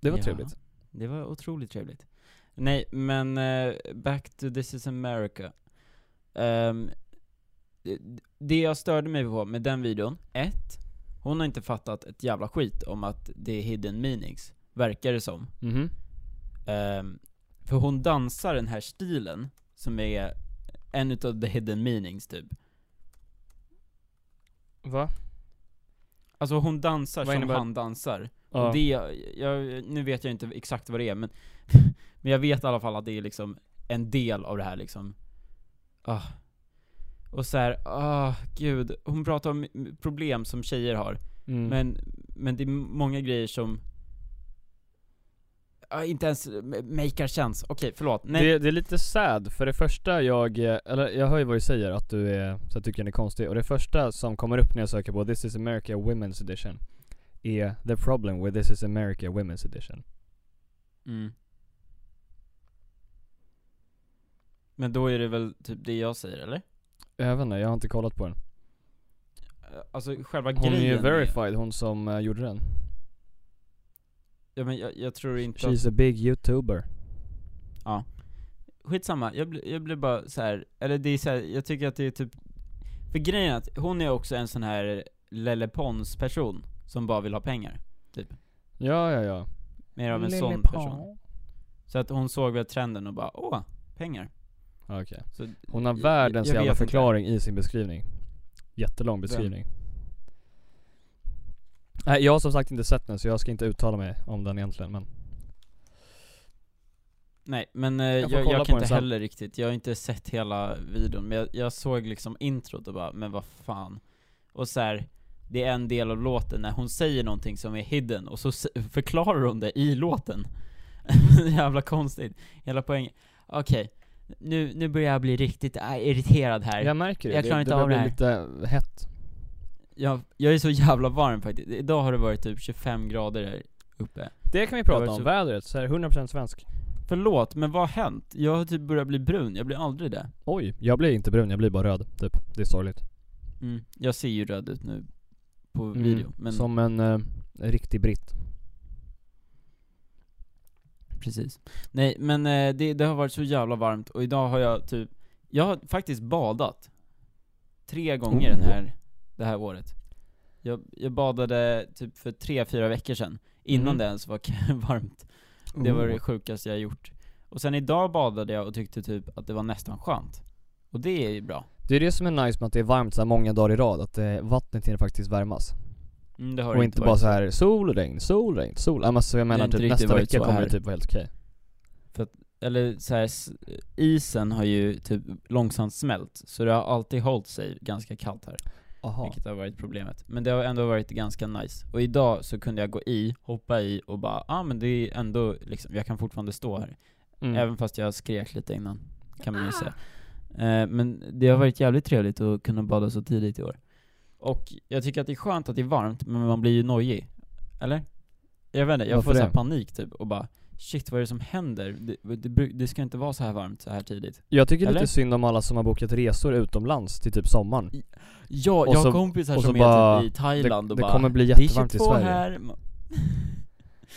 Speaker 2: Det var
Speaker 1: Ja.
Speaker 2: trevligt.
Speaker 1: Det var otroligt trevligt. Nej, men eh, back to This is America. Ehm, det- det jag störde mig på med den videon, ett, hon har inte fattat ett jävla skit om att det är hidden meanings, verkar det som.
Speaker 2: Mhm.
Speaker 1: Ehm, för hon dansar den här stilen, som är en utav the hidden meanings typ.
Speaker 2: Va?
Speaker 1: Alltså hon dansar
Speaker 2: Vad
Speaker 1: som
Speaker 2: innebär-
Speaker 1: han dansar.
Speaker 2: Ja.
Speaker 1: Och det, jag, nu vet jag inte exakt vad det är men, men jag vet i alla fall att det är liksom en del av det här liksom. Ah. Och så här, ah gud, hon pratar om problem som tjejer har,
Speaker 2: Mm.
Speaker 1: men, men det är många grejer som ah, inte ens makear känns. Okej, förlåt. Nej,
Speaker 2: Det, det är lite sad, för det första jag, eh, eller jag hör ju vad du säger att du är, så jag tycker den är konstig. Och det första som kommer upp när jag söker på 'This is America Women's Edition' är 'The problem with this is America Women's Edition'
Speaker 1: Mm. Men då är det väl typ det jag säger eller?
Speaker 2: Jag vet inte, jag har inte kollat på den.
Speaker 1: Eh, Alltså själva
Speaker 2: Hon är
Speaker 1: grejen
Speaker 2: ju
Speaker 1: är-
Speaker 2: verified, hon som eh, gjorde den.
Speaker 1: Ja men jag, jag tror inte att-
Speaker 2: She's a big youtuber.
Speaker 1: skitsamma, jag, bli, jag blir bara så här. eller det är så här, jag tycker att det är typ För grejen är att hon är också en sån här Lelle Pons person som bara vill ha pengar
Speaker 2: Ja, ja, ja.
Speaker 1: Mer av en
Speaker 2: Lille
Speaker 1: sån
Speaker 2: Paul.
Speaker 1: person Så att hon såg väl trenden och bara åh, pengar
Speaker 2: Ja, Ah, Okej.
Speaker 1: så,
Speaker 2: Hon har
Speaker 1: jag-
Speaker 2: världens
Speaker 1: jag
Speaker 2: jävla
Speaker 1: vet inte.
Speaker 2: förklaring i sin beskrivning. Jättelång beskrivning. Nej, jag har som sagt inte sett den så jag ska inte uttala mig om den egentligen men
Speaker 1: Nej men eh,
Speaker 2: Jag
Speaker 1: jag,
Speaker 2: får
Speaker 1: jag,
Speaker 2: kolla på
Speaker 1: kan
Speaker 2: den
Speaker 1: inte
Speaker 2: sen.
Speaker 1: heller riktigt, jag har inte sett hela videon men jag, jag såg liksom introt och bara, men vad fan Och så här. Det är en del av låten när hon säger någonting som är hidden och så s- förklarar hon det i låten Jävla konstigt, hela poängen Okej, nu, nu börjar jag bli riktigt äh, irriterad här
Speaker 2: Jag märker det.
Speaker 1: Jag klarar
Speaker 2: det,
Speaker 1: inte
Speaker 2: det
Speaker 1: av
Speaker 2: börjar
Speaker 1: det
Speaker 2: bli lite hett.
Speaker 1: jag, jag är så jävla varm faktiskt, idag har det varit typ 25 grader här uppe
Speaker 2: Det kan vi
Speaker 1: Jag
Speaker 2: prata
Speaker 1: var
Speaker 2: om,
Speaker 1: så-
Speaker 2: vädret. Så här 100% svensk.
Speaker 1: Förlåt, men vad har hänt? Jag har typ börjat bli brun, jag blir aldrig det
Speaker 2: Oj, jag blir inte brun, jag blir bara röd typ. Det är sorgligt.
Speaker 1: Mm. Jag ser ju röd ut nu på
Speaker 2: Mm.
Speaker 1: video, men
Speaker 2: Som en eh, riktig britt.
Speaker 1: precis. Nej men eh, det, det har varit så jävla varmt och idag har jag typ, jag har faktiskt badat. Tre gånger
Speaker 2: Oh.
Speaker 1: den här, det här året. Jag, jag badade typ för tre fyra veckor sedan, innan
Speaker 2: Mm. Oh.
Speaker 1: det ens var varmt. Det var det sjukaste jag gjort. Och sen idag badade jag och tyckte typ att det var nästan skönt. Och det är ju bra.
Speaker 2: Det är det som är nice med att det är varmt så här många dagar i rad, att eh, vattnet hinner faktiskt värmas.
Speaker 1: Mm, det har
Speaker 2: och
Speaker 1: det
Speaker 2: inte
Speaker 1: varit.
Speaker 2: bara så här sol och regn, sol och regn, sol. Ja, men så jag
Speaker 1: Det har
Speaker 2: menar
Speaker 1: inte
Speaker 2: typ
Speaker 1: riktigt
Speaker 2: nästa
Speaker 1: varit
Speaker 2: vecka
Speaker 1: så
Speaker 2: kommer det
Speaker 1: här.
Speaker 2: typ vara helt okej.
Speaker 1: eller så här, s- isen har ju typ långsamt smält, så det har alltid hållit sig ganska kallt här,
Speaker 2: Aha.
Speaker 1: vilket har varit problemet. Men det har ändå varit ganska nice. Och idag så kunde jag gå i, hoppa i och bara, ah men det är ändå liksom, jag kan fortfarande stå här.
Speaker 2: Mm.
Speaker 1: Även fast jag skrek lite innan, kan man ju säga. Eh, men det har varit jävligt trevligt att kunna bada så tidigt i år. Och jag tycker att det är skönt att det är varmt, men man blir ju nojig. Eller? Jag vet inte, jag
Speaker 2: Varför
Speaker 1: får så här
Speaker 2: det?
Speaker 1: panik typ och bara Shit vad är det som händer? Det, det, bru- det ska inte vara så här varmt så här tidigt.
Speaker 2: Jag tycker
Speaker 1: Eller?
Speaker 2: lite synd om alla som har bokat resor utomlands till typ sommaren.
Speaker 1: Ja,
Speaker 2: Och
Speaker 1: jag har
Speaker 2: så-
Speaker 1: kompisar
Speaker 2: och så
Speaker 1: som är
Speaker 2: bara,
Speaker 1: typ i Thailand
Speaker 2: det-
Speaker 1: och
Speaker 2: det
Speaker 1: bara
Speaker 2: kommer bli
Speaker 1: "Det är
Speaker 2: jättevarmt i
Speaker 1: 22
Speaker 2: Sverige."
Speaker 1: Här.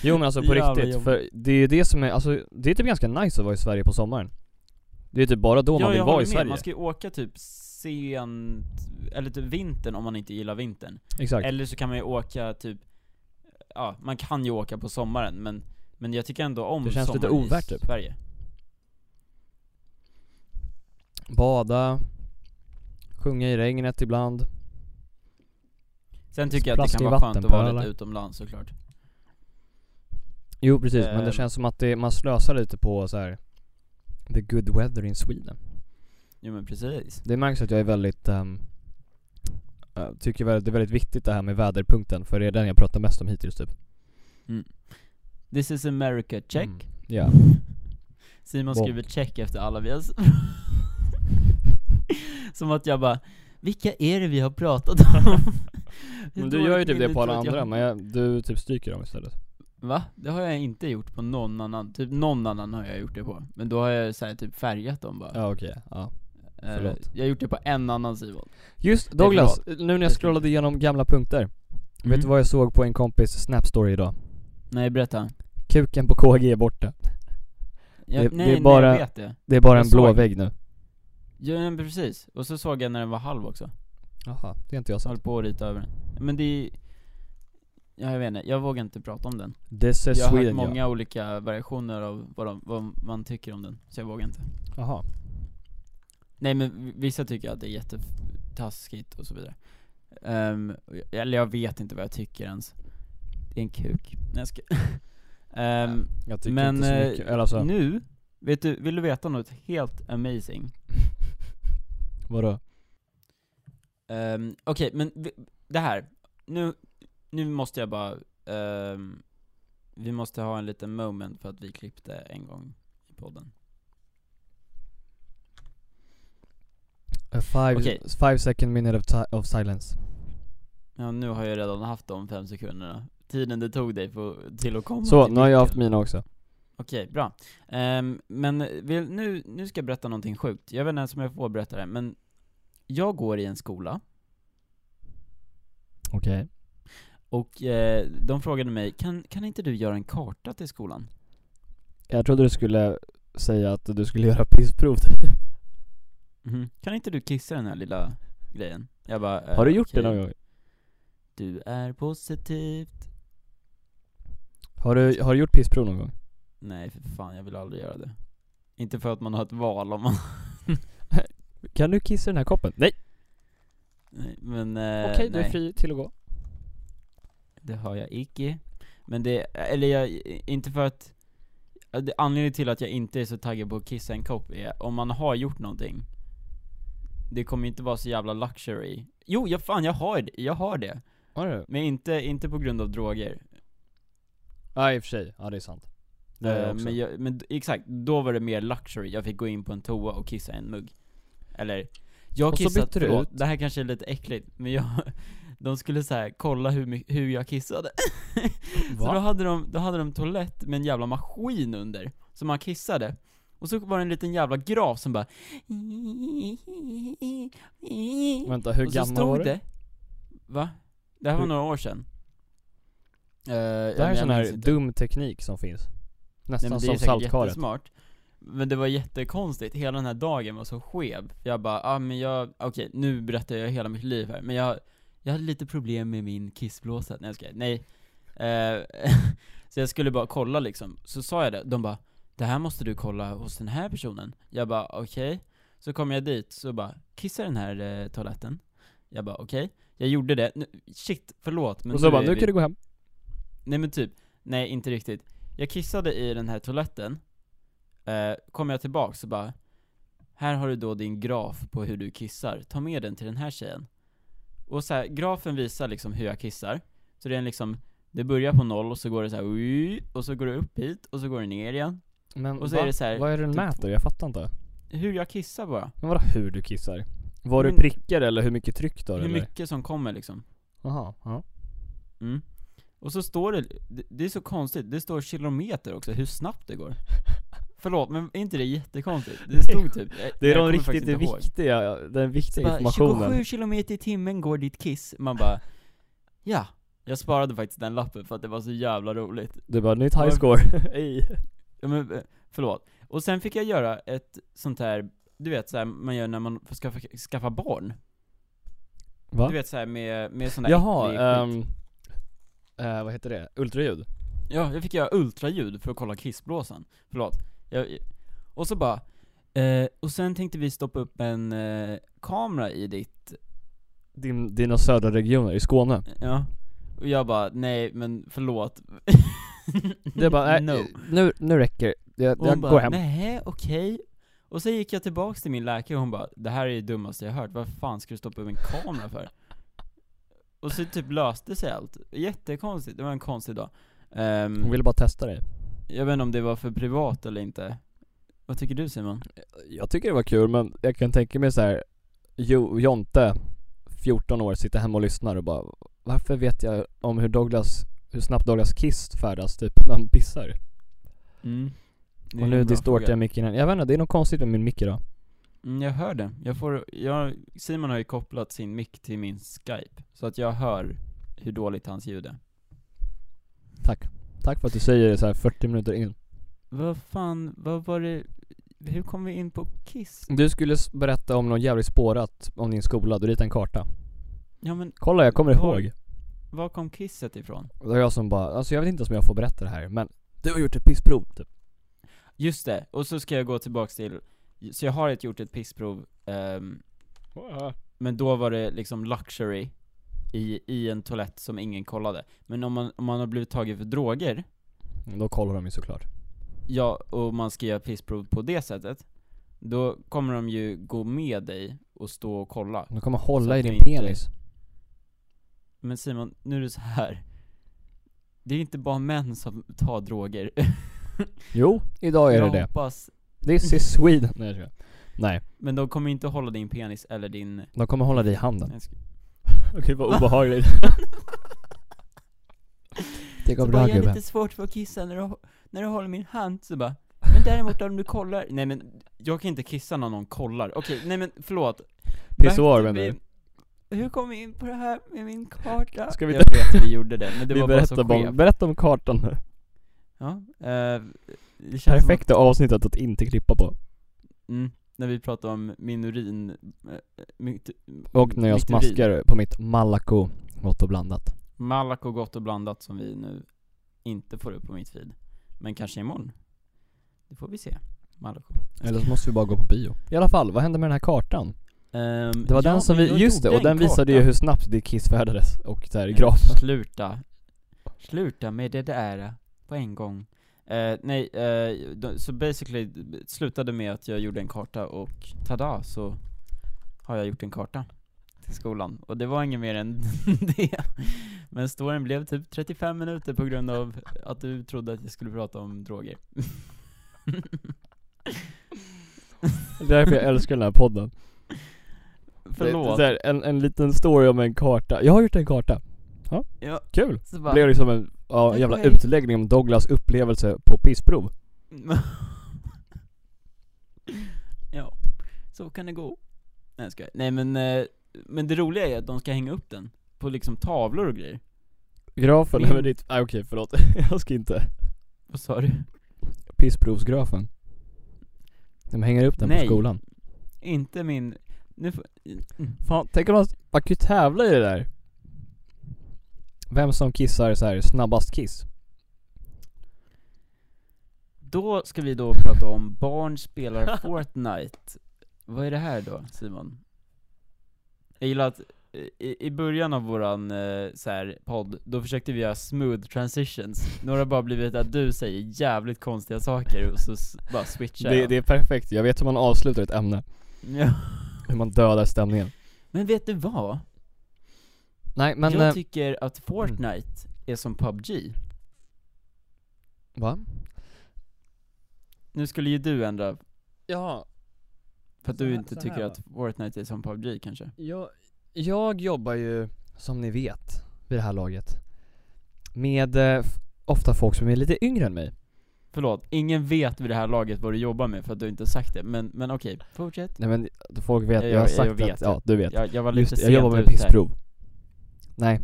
Speaker 2: Jo men alltså på
Speaker 1: Jävla
Speaker 2: riktigt,
Speaker 1: jobb.
Speaker 2: för det är ju det som är, alltså det är typ ganska nice att vara i Sverige på sommaren. Det är typ bara då
Speaker 1: ja,
Speaker 2: man vill
Speaker 1: jag
Speaker 2: vara
Speaker 1: håller
Speaker 2: i
Speaker 1: med.
Speaker 2: Sverige.
Speaker 1: Man ska ju åka typ sent, eller typ vintern om man inte gillar vintern.
Speaker 2: Exakt.
Speaker 1: Eller så kan man ju åka typ, ja man kan ju åka på sommaren men, men jag tycker ändå om
Speaker 2: Det känns lite
Speaker 1: sommaren i
Speaker 2: ovärt, typ.
Speaker 1: Sverige.
Speaker 2: Bada, sjunga i regnet ibland.
Speaker 1: Sen tycker jag att det kan
Speaker 2: Plaskig
Speaker 1: vara skönt att vara lite
Speaker 2: vattenpölar.
Speaker 1: utomlands såklart.
Speaker 2: Jo precis, men det
Speaker 1: Ehm.
Speaker 2: känns som att det, man slösar lite på så här. the good weather in Sweden.
Speaker 1: Jo men precis.
Speaker 2: Det märks att jag är väldigt, ehm, eh, tycker väl- det är väldigt viktigt det här med väderpunkten, för det är den jag pratar mest om hittills typ.
Speaker 1: This is America, check.
Speaker 2: Mm. Ja.
Speaker 1: Simon
Speaker 2: Bonk.
Speaker 1: skriver check efter alla vi har... s- Som att jag bara, vilka är det vi har pratat om?
Speaker 2: Men
Speaker 1: Hur
Speaker 2: du gör ju
Speaker 1: dåligt
Speaker 2: typ
Speaker 1: minne
Speaker 2: det på alla
Speaker 1: tror att jag
Speaker 2: andra,
Speaker 1: har?
Speaker 2: men jag, du typ stryker dem istället.
Speaker 1: Va? Det har jag inte gjort på någon annan, typ någon annan har jag gjort det på. Men då har jag så här typ färgat dem bara.
Speaker 2: Ja okej, ja.
Speaker 1: Eh,
Speaker 2: förlåt.
Speaker 1: jag har gjort det på en annan Simon.
Speaker 2: Just
Speaker 1: Nej,
Speaker 2: Douglas, nu när
Speaker 1: Jag
Speaker 2: jag
Speaker 1: ska-
Speaker 2: scrollade igenom gamla punkter, vet du vad jag såg på en kompis snap story idag?
Speaker 1: Mm. Nej berätta.
Speaker 2: Kuken på KG är borta.
Speaker 1: Jag,
Speaker 2: Det- det
Speaker 1: nej,
Speaker 2: är
Speaker 1: nej,
Speaker 2: bara-
Speaker 1: jag vet det.
Speaker 2: Det är bara
Speaker 1: Jag
Speaker 2: en blå
Speaker 1: såg.
Speaker 2: vägg nu.
Speaker 1: Ja men precis, och så såg jag när den var halv också.
Speaker 2: Jaha, det är inte jag
Speaker 1: Så
Speaker 2: som...
Speaker 1: höll på att rita över den. Men det är Ja, jag vet inte, jag vågar inte prata om den.
Speaker 2: This is
Speaker 1: jag har
Speaker 2: Sweden
Speaker 1: hört många
Speaker 2: ja.
Speaker 1: olika variationer av vad, de, vad man tycker om den, så jag vågar inte.
Speaker 2: Jaha.
Speaker 1: Nej men v- vissa tycker att det är jättetaskigt och så vidare. Ehm, och jag- eller jag vet inte vad jag tycker ens. Det är en kuk. Nej, jag ska... Ehm,
Speaker 2: Jag tycker
Speaker 1: Men,
Speaker 2: inte
Speaker 1: eh,
Speaker 2: så mycket, eller alltså,
Speaker 1: nu, vet du, vill du veta något helt amazing?
Speaker 2: vadå?
Speaker 1: Ehm, Okej, men vi, det här. Nu, nu måste jag bara... ehm, vi måste ha en liten moment för att vi klippte en gång i podden.
Speaker 2: A five,
Speaker 1: Okej.
Speaker 2: five second minute of, ti- of silence.
Speaker 1: Ja, nu har jag redan haft de fem sekunderna. Tiden det tog dig för, till att komma
Speaker 2: Så,
Speaker 1: till
Speaker 2: nu har jag
Speaker 1: micken.
Speaker 2: haft mina också.
Speaker 1: Okej, bra. Ehm, men vi, nu, nu ska jag berätta någonting sjukt. Jag vet inte ens om jag får berätta det, men jag går i en skola
Speaker 2: Okej.
Speaker 1: och eh, de frågade mig, kan, kan inte du göra en karta till skolan?
Speaker 2: Jag trodde du skulle säga att du skulle göra pissprov.
Speaker 1: Mhm. Kan inte du kissa den här lilla grejen? Jag bara, eh,
Speaker 2: Mm-hmm. Har du gjort
Speaker 1: okej.
Speaker 2: det någon gång?
Speaker 1: Du är positivt.
Speaker 2: Har du, har du gjort pissprov någon gång?
Speaker 1: Nej för fan, jag vill aldrig göra det. Inte för att man har ett val om man...
Speaker 2: Kan du kissa i den här koppen? Nej!
Speaker 1: Nej, Men eh,
Speaker 2: Okej, du är
Speaker 1: nej,
Speaker 2: fri till att gå.
Speaker 1: det har jag icke. Men det, eller jag, inte för att... eh, det- Anledningen till att jag inte är så taggad på att kissa en kopp är, om man har gjort någonting Det kommer inte vara så jävla luxury. Jo, jag fan jag har det, jag har det.
Speaker 2: Har du?
Speaker 1: Men inte, inte på grund av droger.
Speaker 2: Ja i och för sig, ja det är sant. Det har
Speaker 1: Eh,
Speaker 2: jag också.
Speaker 1: men, jag, men d- exakt, då var det mer luxury, jag fick gå in på en toa och kissa i en mugg Eller, jag har
Speaker 2: Och så
Speaker 1: kissat,
Speaker 2: bytte du
Speaker 1: förlåt, det här kanske är lite äckligt, men jag De skulle så här kolla hur, my- hur jag kissade Så
Speaker 2: Va?
Speaker 1: då hade, de, då hade de toalett med en jävla maskin under, som man kissade Och så var det en liten jävla graf som bara
Speaker 2: Vänta, hur
Speaker 1: Och så
Speaker 2: gammal
Speaker 1: stod
Speaker 2: var du?
Speaker 1: det Va? Det här var
Speaker 2: Hur-
Speaker 1: några år sedan Eh,
Speaker 2: Det här är
Speaker 1: jag
Speaker 2: sån här
Speaker 1: minns inte.
Speaker 2: dum teknik som finns.
Speaker 1: Nej,
Speaker 2: Nästan
Speaker 1: men det är
Speaker 2: som
Speaker 1: säkert
Speaker 2: saltkaret.
Speaker 1: jättesmart Men det var jättekonstigt, hela den här dagen var så skev Jag bara, ah men jag, okej nu berättar jag hela mitt liv här Men jag, jag hade lite problem med min kissblåsa, nej jag skojar, nej Eh, Så jag skulle bara kolla liksom, så sa jag det, de bara 'Det här måste du kolla hos den här personen' Jag bara okej, så kom jag dit, så bara 'Kissa den här eh, toaletten' Jag bara okej, jag gjorde det, nu, shit förlåt men
Speaker 2: och så bara,
Speaker 1: är
Speaker 2: nu
Speaker 1: vi-
Speaker 2: kan du gå hem.
Speaker 1: Nej men typ, nej inte riktigt. Jag kissade i den här toaletten, eh, kom jag tillbaks och bara Här har du då din graf på hur du kissar, ta med den till den här tjejen. Och så här, grafen visar liksom hur jag kissar, så det är en liksom det börjar på noll och så går det så här, "Ui", och så går det upp hit och så går det ner igen.
Speaker 2: Men
Speaker 1: Och så
Speaker 2: va?
Speaker 1: är det så här,
Speaker 2: vad är det den
Speaker 1: typ-
Speaker 2: mäter? Jag fattar inte.
Speaker 1: Hur jag kissar bara.
Speaker 2: Men vadå hur du kissar? Var du
Speaker 1: Men-
Speaker 2: prickar eller hur mycket tryck du har
Speaker 1: Mm. Hur
Speaker 2: eller?
Speaker 1: mycket som kommer liksom.
Speaker 2: Jaha, ja.
Speaker 1: Mm. Och så står det, det- det är så konstigt, det står kilometer också, hur snabbt det går. Förlåt, men är inte det jättekonstigt? Det stod typ, jag-
Speaker 2: Det är
Speaker 1: jag
Speaker 2: de
Speaker 1: kommer faktiskt
Speaker 2: riktigt
Speaker 1: inte ihåg.
Speaker 2: viktiga, den viktiga
Speaker 1: Bara,
Speaker 2: Typ informationen.
Speaker 1: 27 kilometer i timmen går ditt kiss, man bara, ja. Jag sparade faktiskt den lappen för att det var så jävla roligt.
Speaker 2: Du bara, nytt
Speaker 1: Ja.
Speaker 2: high score. Ej.
Speaker 1: Ja, men, eh, förlåt. Och sen fick jag göra ett sånt här, du vet så här man gör när man ska skaffa, skaffa barn.
Speaker 2: Va?
Speaker 1: Du vet så här med, med sån där
Speaker 2: Jaha,
Speaker 1: äcklig skit.
Speaker 2: ehm, eh, vad heter det? Ultraljud?
Speaker 1: Ja, jag fick göra ultraljud för att kolla kissblåsan. Förlåt. Jag, och så bara, eh, och sen tänkte vi stoppa upp en eh, kamera i ditt,
Speaker 2: Din, dina södra regioner i Skåne.
Speaker 1: ja. Och jag bara, nej men förlåt.
Speaker 2: Det bara, nej,
Speaker 1: no.
Speaker 2: nu, nu räcker det. Jag,
Speaker 1: Och
Speaker 2: jag
Speaker 1: hon
Speaker 2: går
Speaker 1: bara,
Speaker 2: hem.
Speaker 1: nej okej. Och sen gick jag tillbaks till min läkare och hon bara, det här är det dummaste jag hört, vad fan ska du stoppa upp en kamera för? Och så typ löste sig allt. Jättekonstigt, det var en konstig dag. Ehm,
Speaker 2: Hon ville bara testa dig.
Speaker 1: Jag vet inte om det var för privat eller inte. Vad tycker du Simon?
Speaker 2: Jag tycker det var kul men jag kan tänka mig så här. Jo, Jonte, 14 år, sitter hemma och lyssnar och bara Varför vet jag om hur Douglas, hur snabbt Douglas Kiss färdas typ när han pissar?
Speaker 1: Mm.
Speaker 2: Och nu distortar jag micken igen. Jag vet inte, det är något konstigt med min mick idag.
Speaker 1: Mm, jag hör det. Jag får, jag, Simon har ju kopplat sin mick till min skype, så att jag hör hur dåligt hans ljud är.
Speaker 2: Tack. Tack för att du säger det så här 40 minuter in.
Speaker 1: Vad fan, vad var det, hur kom vi in på Kiss?
Speaker 2: Du skulle s- berätta om något jävligt spårat om din skola, du ritade en karta.
Speaker 1: Ja men,
Speaker 2: Kolla jag kommer
Speaker 1: Var-
Speaker 2: ihåg.
Speaker 1: var kom kisset ifrån?
Speaker 2: Det var jag som bara, alltså jag vet inte ens om jag får berätta det här men du har gjort ett pissprov typ.
Speaker 1: Just det, och så ska jag gå tillbaks till, så jag har ett, gjort ett pissprov, ehm, men då var det liksom luxury i, i en toalett som ingen kollade. Men om man, om man har blivit tagen för droger,
Speaker 2: Då kollar de ju såklart.
Speaker 1: ja, och man ska göra pissprov på det sättet, då kommer de ju gå med dig och stå och kolla.
Speaker 2: De kommer
Speaker 1: Så
Speaker 2: hålla i
Speaker 1: att du
Speaker 2: din
Speaker 1: inte-
Speaker 2: penis.
Speaker 1: Men Simon, nu är det så här. Det är inte bara män som tar droger.
Speaker 2: Jo, idag är det
Speaker 1: jag
Speaker 2: det.
Speaker 1: hoppas,
Speaker 2: This is Sweden. Nej, jag skojar. Nej,
Speaker 1: men de kommer inte hålla din penis eller din...
Speaker 2: de kommer hålla dig i handen.
Speaker 1: Jag ska-
Speaker 2: Okej, vad obehagligt. Det går
Speaker 1: Så
Speaker 2: bra
Speaker 1: bara, jag har
Speaker 2: gubben.
Speaker 1: lite svårt för att kissa när du, när du håller min hand, så bara Men däremot om du kollar, nej men jag kan inte kissa när någon kollar, okej, nej men förlåt
Speaker 2: Pissoar,
Speaker 1: Back to
Speaker 2: menar
Speaker 1: me. Hur kom vi in på det här med min karta?
Speaker 2: Ska vi
Speaker 1: jag vet att vi gjorde det, men det
Speaker 2: Vi
Speaker 1: var bara så
Speaker 2: berättar
Speaker 1: skevt
Speaker 2: om, berätta om kartan nu.
Speaker 1: Ja, eh, det känns som att-
Speaker 2: Perfekta avsnittet att inte klippa på.
Speaker 1: mm, när vi pratade om min urin, eh, mitt,
Speaker 2: Och när jag
Speaker 1: mitt urin.
Speaker 2: smaskar på mitt Malaco, gott och blandat.
Speaker 1: Malak och Gott och blandat som vi nu inte får upp på mitt feed Men kanske imorgon? Det får vi se, Malak
Speaker 2: Eller så måste vi bara gå på bio. I alla fall, vad hände med den här kartan?
Speaker 1: Ehm,
Speaker 2: Det var
Speaker 1: ja,
Speaker 2: den som
Speaker 1: men
Speaker 2: vi,
Speaker 1: jag
Speaker 2: just det,
Speaker 1: gjorde
Speaker 2: och den
Speaker 1: en
Speaker 2: visade ju
Speaker 1: karta.
Speaker 2: hur snabbt ditt kiss färdades och där i
Speaker 1: Nej,
Speaker 2: grafen.
Speaker 1: Sluta. Sluta med det där på en gång. Eh, nej, eh, då- så basically det slutade med att jag gjorde en karta och tada så har jag gjort en karta till skolan. Och det var inget mer än det. Men storyn blev typ 35 minuter på grund av att du trodde att jag skulle prata om droger.
Speaker 2: Det är därför jag älskar den här podden. Det,
Speaker 1: Förlåt.
Speaker 2: så här, en, en liten story om en karta. Jag har gjort en karta.
Speaker 1: ja,
Speaker 2: Kul!
Speaker 1: så
Speaker 2: Det
Speaker 1: bara,
Speaker 2: blev liksom en ja,
Speaker 1: Tack
Speaker 2: jävla
Speaker 1: och hej.
Speaker 2: utläggning om Douglas upplevelse på pissprov.
Speaker 1: ja, så kan det gå. Nej jag skojar. Nej men, eh, men det roliga är att de ska hänga upp den på liksom tavlor och grejer.
Speaker 2: Grafen
Speaker 1: Min-
Speaker 2: över ditt... Nej okej, förlåt. jag ska inte.
Speaker 1: Vad sa du?
Speaker 2: Pissprovsgrafen. De hänger upp den
Speaker 1: Nej.
Speaker 2: på skolan.
Speaker 1: Inte min... Nu får...
Speaker 2: Fan, tänk om man... Man kan ju tävla i det där. Vem som kissar så här snabbast kiss?
Speaker 1: Då ska vi då prata om barn spelar Fortnite. Vad är det här då, Simon? Jag gillar att eh, i, i början av våran eh, så här, podd, då försökte vi göra smooth transitions. Några bara blivit att du säger jävligt konstiga saker och så s- bara switchar
Speaker 2: Det,
Speaker 1: jag.
Speaker 2: det är perfekt, jag vet hur man avslutar ett ämne,
Speaker 1: Ja.
Speaker 2: hur man dödar stämningen
Speaker 1: Men vet du vad?
Speaker 2: Nej men,
Speaker 1: jag
Speaker 2: eh, mm.
Speaker 1: tycker att Fortnite är som PubG.
Speaker 2: va?
Speaker 1: Nu skulle ju du ändra,
Speaker 2: Ja,
Speaker 1: för att
Speaker 2: Så
Speaker 1: du
Speaker 2: här-
Speaker 1: inte
Speaker 2: så här
Speaker 1: tycker
Speaker 2: va?
Speaker 1: att Fortnite är som PubG kanske.
Speaker 2: Jag, jag jobbar ju, som ni vet, vid det här laget Med eh, f- ofta folk som är lite yngre än mig
Speaker 1: Förlåt, ingen vet vid det här laget vad du jobbar med för att du inte sagt det, men, men okej, fortsätt.
Speaker 2: Nej men folk vet,
Speaker 1: Jag-
Speaker 2: jag, har
Speaker 1: jag-
Speaker 2: sagt
Speaker 1: jag vet
Speaker 2: att,
Speaker 1: det.
Speaker 2: ja du vet
Speaker 1: Jag, jag var
Speaker 2: Just
Speaker 1: lite
Speaker 2: det,
Speaker 1: sent
Speaker 2: jag jobbar med
Speaker 1: ute här.
Speaker 2: pissprov Nej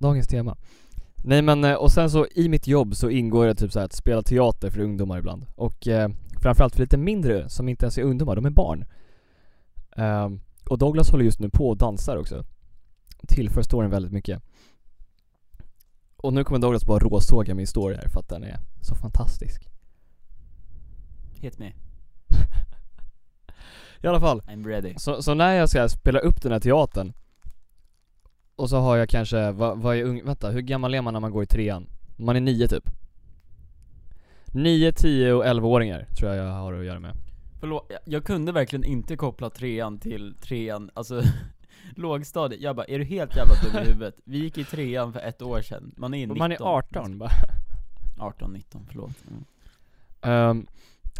Speaker 2: Dagens tema Nej men, eh, och sen så i mitt jobb så ingår det typ så här att spela teater för ungdomar ibland Och eh, framförallt för lite mindre som inte ens är ungdomar, de är barn Ehm, Och Douglas håller just nu på och dansar också Tillför storyn väldigt mycket Och nu kommer Douglas bara råsåga min story här för att den är så fantastisk
Speaker 1: Hit me,
Speaker 2: I alla fall
Speaker 1: I'm ready.
Speaker 2: Så, så när jag ska spela upp den här teatern Och så har jag kanske, vad, vad är ung, vänta, hur gammal är man när man går i trean? Man är nio typ Nio, tio och 11-åringar tror jag jag har att göra med
Speaker 1: Förlåt, jag, jag kunde verkligen inte koppla trean till trean, alltså lågstadiet. Jag bara, är du helt jävla dum i huvudet? Vi gick i trean för ett år sedan, man är 19.
Speaker 2: Man är 18 bara
Speaker 1: 18, 19, förlåt. Mm.
Speaker 2: Ehm,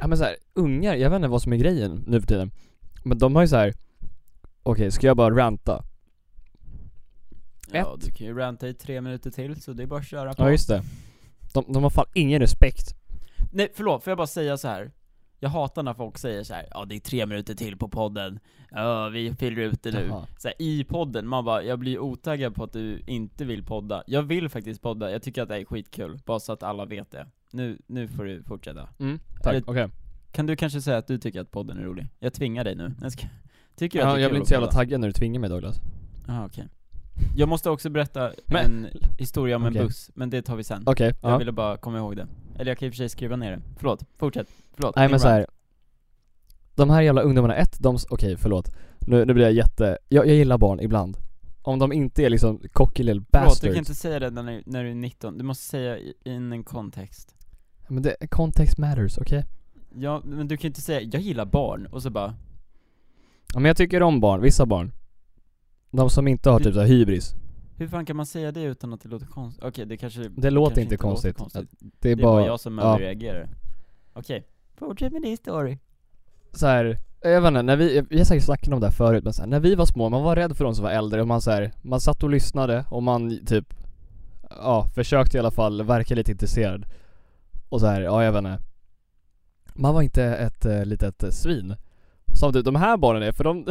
Speaker 2: Ja men såhär, ungar, jag vet inte vad som är grejen nu för tiden Men de har ju så här. okej ska jag bara ranta?
Speaker 1: Ja,
Speaker 2: Ett.
Speaker 1: du kan ju ranta i tre minuter till, så det är bara att köra på.
Speaker 2: Ja just det de, de har fan ingen respekt
Speaker 1: Nej förlåt, får jag bara säga så här. Jag hatar när folk säger så här. ja det är tre minuter till på podden, ja vi fyller ut det nu.
Speaker 2: Jaha.
Speaker 1: Så här, I podden, man bara, jag blir otaggad på att du inte vill podda. Jag vill faktiskt podda, jag tycker att det här är skitkul, bara så att alla vet det. Nu, nu får du fortsätta.
Speaker 2: mm, Tack,
Speaker 1: Eller-
Speaker 2: okej
Speaker 1: Kan du kanske säga att du tycker att podden är rolig? Jag tvingar dig nu, jag ska... Tycker du att
Speaker 2: ja,
Speaker 1: det är
Speaker 2: Jag
Speaker 1: kul
Speaker 2: blir
Speaker 1: att
Speaker 2: inte så jävla
Speaker 1: podda?
Speaker 2: taggad när du tvingar mig Douglas
Speaker 1: Jaha, okej. Jag måste också berätta
Speaker 2: Men-
Speaker 1: en historia om en
Speaker 2: Okej.
Speaker 1: buss, men det tar vi sen.
Speaker 2: Okej,
Speaker 1: Jag
Speaker 2: ja.
Speaker 1: ville bara komma ihåg det. Eller jag kan i och för sig skriva ner det. Förlåt, fortsätt. Förlåt.
Speaker 2: Nej
Speaker 1: din
Speaker 2: men så
Speaker 1: rant.
Speaker 2: här. De här jävla ungdomarna, ett, de, s- okej förlåt Nu, nu blir jag jätte, jag, jag gillar barn ibland Om de inte är liksom cocky little
Speaker 1: Förlåt, du
Speaker 2: bastards
Speaker 1: kan inte säga det när du, när du är 19, du måste säga i i en kontext
Speaker 2: Men det, context matters, okej?
Speaker 1: Ja, men du kan inte säga 'jag gillar barn' och så bara
Speaker 2: Ja, men jag tycker om barn, vissa barn De som inte har typ så här hybris
Speaker 1: Hur fan kan man säga det utan att det låter konstigt? Okej, det kanske Det,
Speaker 2: låter
Speaker 1: kanske
Speaker 2: inte konstigt.
Speaker 1: Det,
Speaker 2: Det är,
Speaker 1: är bara,
Speaker 2: bara,
Speaker 1: jag som
Speaker 2: ja.
Speaker 1: överreagerar Okej, fortsätt med din story
Speaker 2: så här, jag vet inte, när vi, vi har säkert snackat om det här förut men så här, när vi var små, man var rädd för de som var äldre och man så här, man satt och lyssnade och man typ, ja, försökte i alla fall verka lite intresserad. Och så här, ja jag vet inte. Man var inte ett äh, litet eh, svin. Som typ de här barnen är, för de,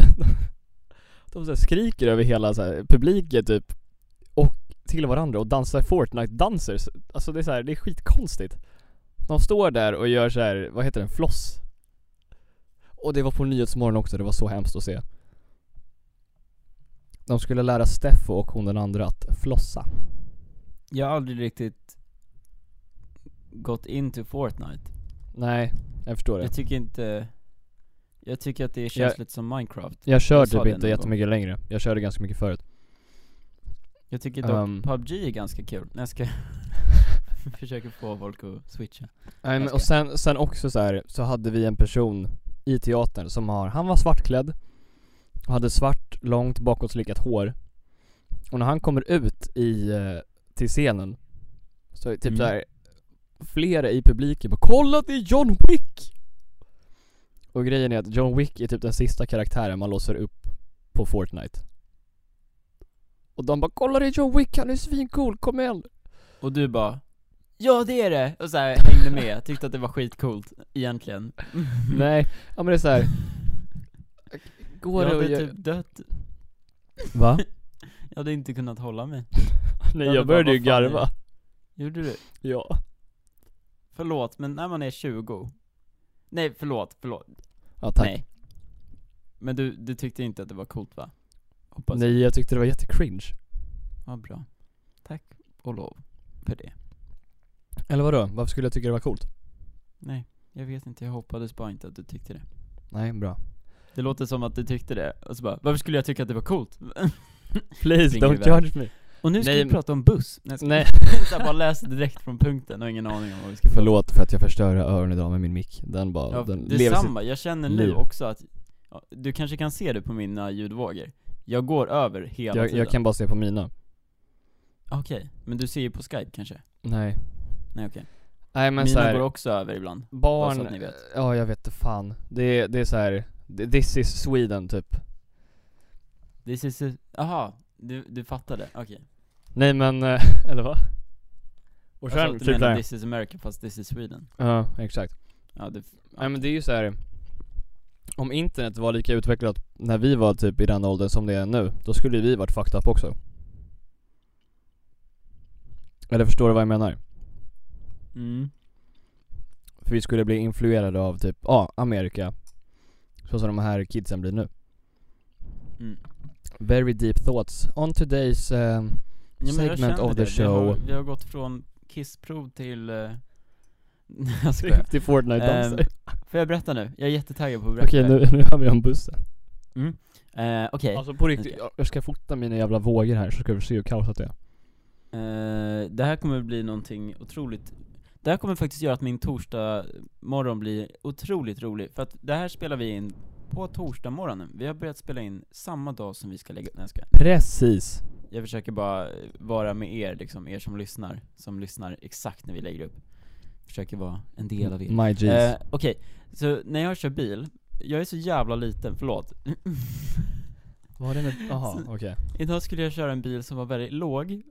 Speaker 2: de så här, skriker över hela så här, publiken typ och till varandra och dansar Fortnite-danser. Så- Alltså det är så här, det är skitkonstigt. De står där och gör så här, vad heter den, floss? Och det var på Nyhetsmorgon också, det var så hemskt att se. De skulle lära Steffo och hon den andra att flossa.
Speaker 1: Jag har aldrig riktigt gått into Fortnite
Speaker 2: Nej, jag förstår det.
Speaker 1: Jag tycker inte Jag tycker att det känns
Speaker 2: Jag-
Speaker 1: lite som Minecraft
Speaker 2: Jag kör
Speaker 1: jag sa
Speaker 2: typ
Speaker 1: det
Speaker 2: inte
Speaker 1: någon
Speaker 2: jättemycket längre. Jag körde ganska mycket förut.
Speaker 1: Jag tycker dock
Speaker 2: Ehm.
Speaker 1: PubG är ganska kul, när jag ska Försöker få folk att switcha
Speaker 2: Nej men
Speaker 1: ska-
Speaker 2: och sen, sen också så här, så hade vi en person i teatern som har, han var svartklädd och hade svart, långt bakåtslickat hår. Och när han kommer ut i, eh, till scenen så är det typ
Speaker 1: Mm.
Speaker 2: så här flera i publiken bara 'Kolla det är John Wick!' Och grejen är att John Wick är typ den sista karaktären man låser upp på Fortnite. Och de bara 'Kolla det är John Wick, han är svincool, kom igen!'
Speaker 1: Och du bara Ja det är det! Och så här, hängde med, tyckte att det var skitcoolt, egentligen Mm.
Speaker 2: Nej, ja men det är så här. Går
Speaker 1: Jag
Speaker 2: det
Speaker 1: hade
Speaker 2: att göra-
Speaker 1: typ dött,
Speaker 2: Va?
Speaker 1: jag hade inte kunnat hålla mig
Speaker 2: Nej
Speaker 1: hade
Speaker 2: jag började
Speaker 1: bara,
Speaker 2: ju
Speaker 1: "Vad fan är
Speaker 2: garva.
Speaker 1: Gjorde du?
Speaker 2: Ja.
Speaker 1: Förlåt, men när man är 20 Nej förlåt, förlåt,
Speaker 2: Ja tack. Nej.
Speaker 1: nej Men du, du tyckte inte att det var coolt va? Hoppas jag.
Speaker 2: jag tyckte det var jättecringe.
Speaker 1: Vad bra Tack och lov för det.
Speaker 2: Eller vadå? Varför skulle jag tycka det var coolt?
Speaker 1: Nej, jag vet inte. Jag hoppades bara inte att du tyckte det.
Speaker 2: Nej, bra.
Speaker 1: Det låter som att du tyckte det, och så bara, varför skulle jag tycka att det var coolt?
Speaker 2: Please,
Speaker 1: Springer
Speaker 2: don't
Speaker 1: iväg.
Speaker 2: charge me.
Speaker 1: Och nu ska
Speaker 2: Nej,
Speaker 1: vi
Speaker 2: men-
Speaker 1: prata om buss. Nej, jag ska-
Speaker 2: Nej.
Speaker 1: så jag bara läste direkt från punkten och ingen aning om vad vi ska prata om.
Speaker 2: Förlåt för att jag förstör öronen idag med min mick. Den bara,
Speaker 1: Ja,
Speaker 2: den lever sitt...
Speaker 1: detsamma, jag känner nu
Speaker 2: liv.
Speaker 1: också att, ja, du kanske kan se det på mina ljudvågor? Jag går över hela
Speaker 2: Jag,
Speaker 1: tiden
Speaker 2: jag kan bara se på mina.
Speaker 1: Okej, men du ser ju på skype kanske?
Speaker 2: Nej.
Speaker 1: Nej okej
Speaker 2: Nej men
Speaker 1: Mina
Speaker 2: så här,
Speaker 1: går också över ibland, bara så att ni
Speaker 2: barn,
Speaker 1: vet
Speaker 2: ja jag vet inte fan. Det, det är så här. this is Sweden typ.
Speaker 1: This is a- aha, du, du fattade? Okej
Speaker 2: Nej men, eh, eller va? Och
Speaker 1: Jag sa
Speaker 2: sen
Speaker 1: att du
Speaker 2: typ
Speaker 1: menar
Speaker 2: där.
Speaker 1: this is America fast this is Sweden
Speaker 2: Ja, exakt.
Speaker 1: Ja, det,
Speaker 2: Nej men det är ju så här. Om internet var lika utvecklat när vi var typ i den åldern som det är nu, då skulle vi varit fucked up också. Eller förstår du vad jag menar?
Speaker 1: mm.
Speaker 2: För vi skulle bli influerade av typ, ja, Amerika. Så som de här kidsen blir nu.
Speaker 1: Mm.
Speaker 2: Very deep thoughts on today's ehm,
Speaker 1: Ja, men jag
Speaker 2: Segment
Speaker 1: känner
Speaker 2: of the
Speaker 1: det. Vi har,
Speaker 2: show.
Speaker 1: vi har gått från kissprov till... Uh, jag skojar.
Speaker 2: till, till Fortnite-danser.
Speaker 1: Ehm, får jag berätta nu? Jag är jättetaggad på att berätta
Speaker 2: Okej
Speaker 1: det
Speaker 2: nu,
Speaker 1: här.
Speaker 2: nu har vi om bussen.
Speaker 1: Eh, Okej,
Speaker 2: Alltså på riktigt,
Speaker 1: Okej.
Speaker 2: jag- jag ska fota mina jävla vågor här så ska du se hur kaosat det är.
Speaker 1: Eh, det här kommer bli någonting otroligt Det här kommer faktiskt göra att min torsdag morgon blir otroligt rolig, för att det här spelar vi in på torsdag morgonen. Vi har börjat spela in samma dag som vi ska lägga upp den ska.
Speaker 2: Precis.
Speaker 1: Jag försöker bara eh, vara med er liksom, er som lyssnar, som lyssnar exakt när vi lägger upp. Försöker vara en del av er.
Speaker 2: My G's.
Speaker 1: Eh, Okej, så när jag kör bil, jag är så jävla liten, förlåt.
Speaker 2: Var det med, aha, okej.
Speaker 1: Idag skulle jag köra en bil som var väldigt låg,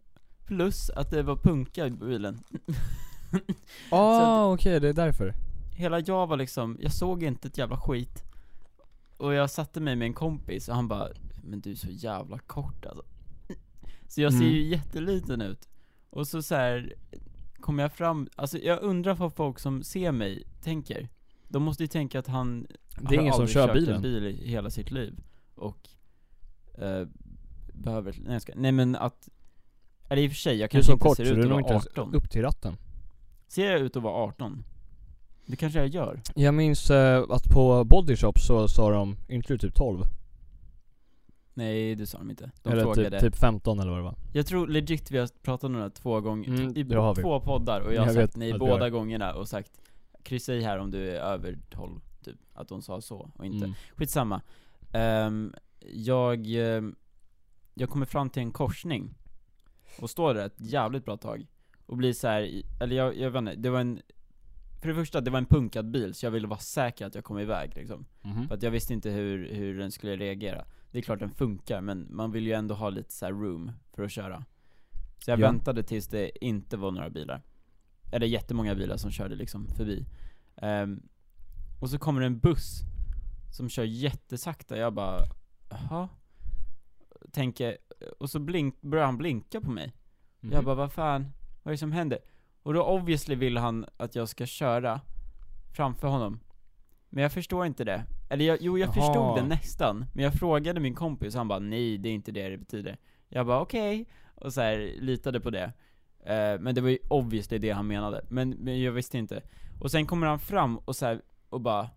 Speaker 1: plus att det var punka i bilen.
Speaker 2: Ah, okej det är därför.
Speaker 1: Hela jag var liksom, jag såg inte ett jävla skit. Och jag satte mig med en kompis och han bara, men du är så jävla kort alltså. Så jag ser
Speaker 2: Mm.
Speaker 1: ju jätteliten ut. Och så så här kommer jag fram, alltså jag undrar vad folk som ser mig tänker. De måste ju tänka att han
Speaker 2: Det är ingen som kör
Speaker 1: en
Speaker 2: bilen.
Speaker 1: bil i hela sitt liv och eh, behöver, nej jag ska, nej men att, eller i och för sig, jag
Speaker 2: Du är
Speaker 1: kanske
Speaker 2: så
Speaker 1: inte
Speaker 2: kort
Speaker 1: ser
Speaker 2: så du
Speaker 1: ut
Speaker 2: är
Speaker 1: att
Speaker 2: nog
Speaker 1: vara
Speaker 2: inte ens
Speaker 1: 18.
Speaker 2: upp till ratten.
Speaker 1: Ser jag ut att vara 18? Det kanske jag gör.
Speaker 2: Jag minns eh, att på Body Shop så sa de, inte du typ 12?
Speaker 1: Nej det sa de inte, de
Speaker 2: eller
Speaker 1: frågade
Speaker 2: typ, typ 15 eller vad det var.
Speaker 1: Jag tror legit vi har pratat om det här två gånger,
Speaker 2: Mm,
Speaker 1: i
Speaker 2: det har vi.
Speaker 1: två poddar och jag,
Speaker 2: Jag
Speaker 1: har
Speaker 2: vet
Speaker 1: sagt nej
Speaker 2: att vi
Speaker 1: båda
Speaker 2: har.
Speaker 1: gångerna och sagt Kryssa i här om du är över 12, typ, att de sa så och inte
Speaker 2: Mm.
Speaker 1: Skitsamma. Ehm, jag, ehm, jag kommer fram till en korsning och står där ett jävligt bra tag och blir så här, i- eller jag, jag vet inte, det var en för det första, det var en punkad bil, så jag ville vara säker att jag kom iväg liksom.
Speaker 2: Mhm.
Speaker 1: För att jag visste inte hur, hur den skulle reagera. Det är klart den funkar, men man vill ju ändå ha lite så här room för att köra. Så jag
Speaker 2: Ja.
Speaker 1: väntade tills det inte var några bilar. Eller jättemånga bilar som körde liksom förbi. Ehm, och så kommer det en buss som kör jättesakta, jag bara jaha? Tänker, och så blink, börjar han blinka på mig.
Speaker 2: Mm. Mhm.
Speaker 1: Jag bara, vad fan, vad är det som händer? Och då obviously vill han att jag ska köra framför honom. Men jag förstår inte det. Eller jag, jo, jag
Speaker 2: Jaha.
Speaker 1: förstod det nästan. Men jag frågade min kompis, han bara, nej det är inte det det betyder. Jag bara, okej. Och så här, litade på det. Eh, men det var ju obviously det han menade. Men, men jag visste inte. Och sen kommer han fram och så här, och bara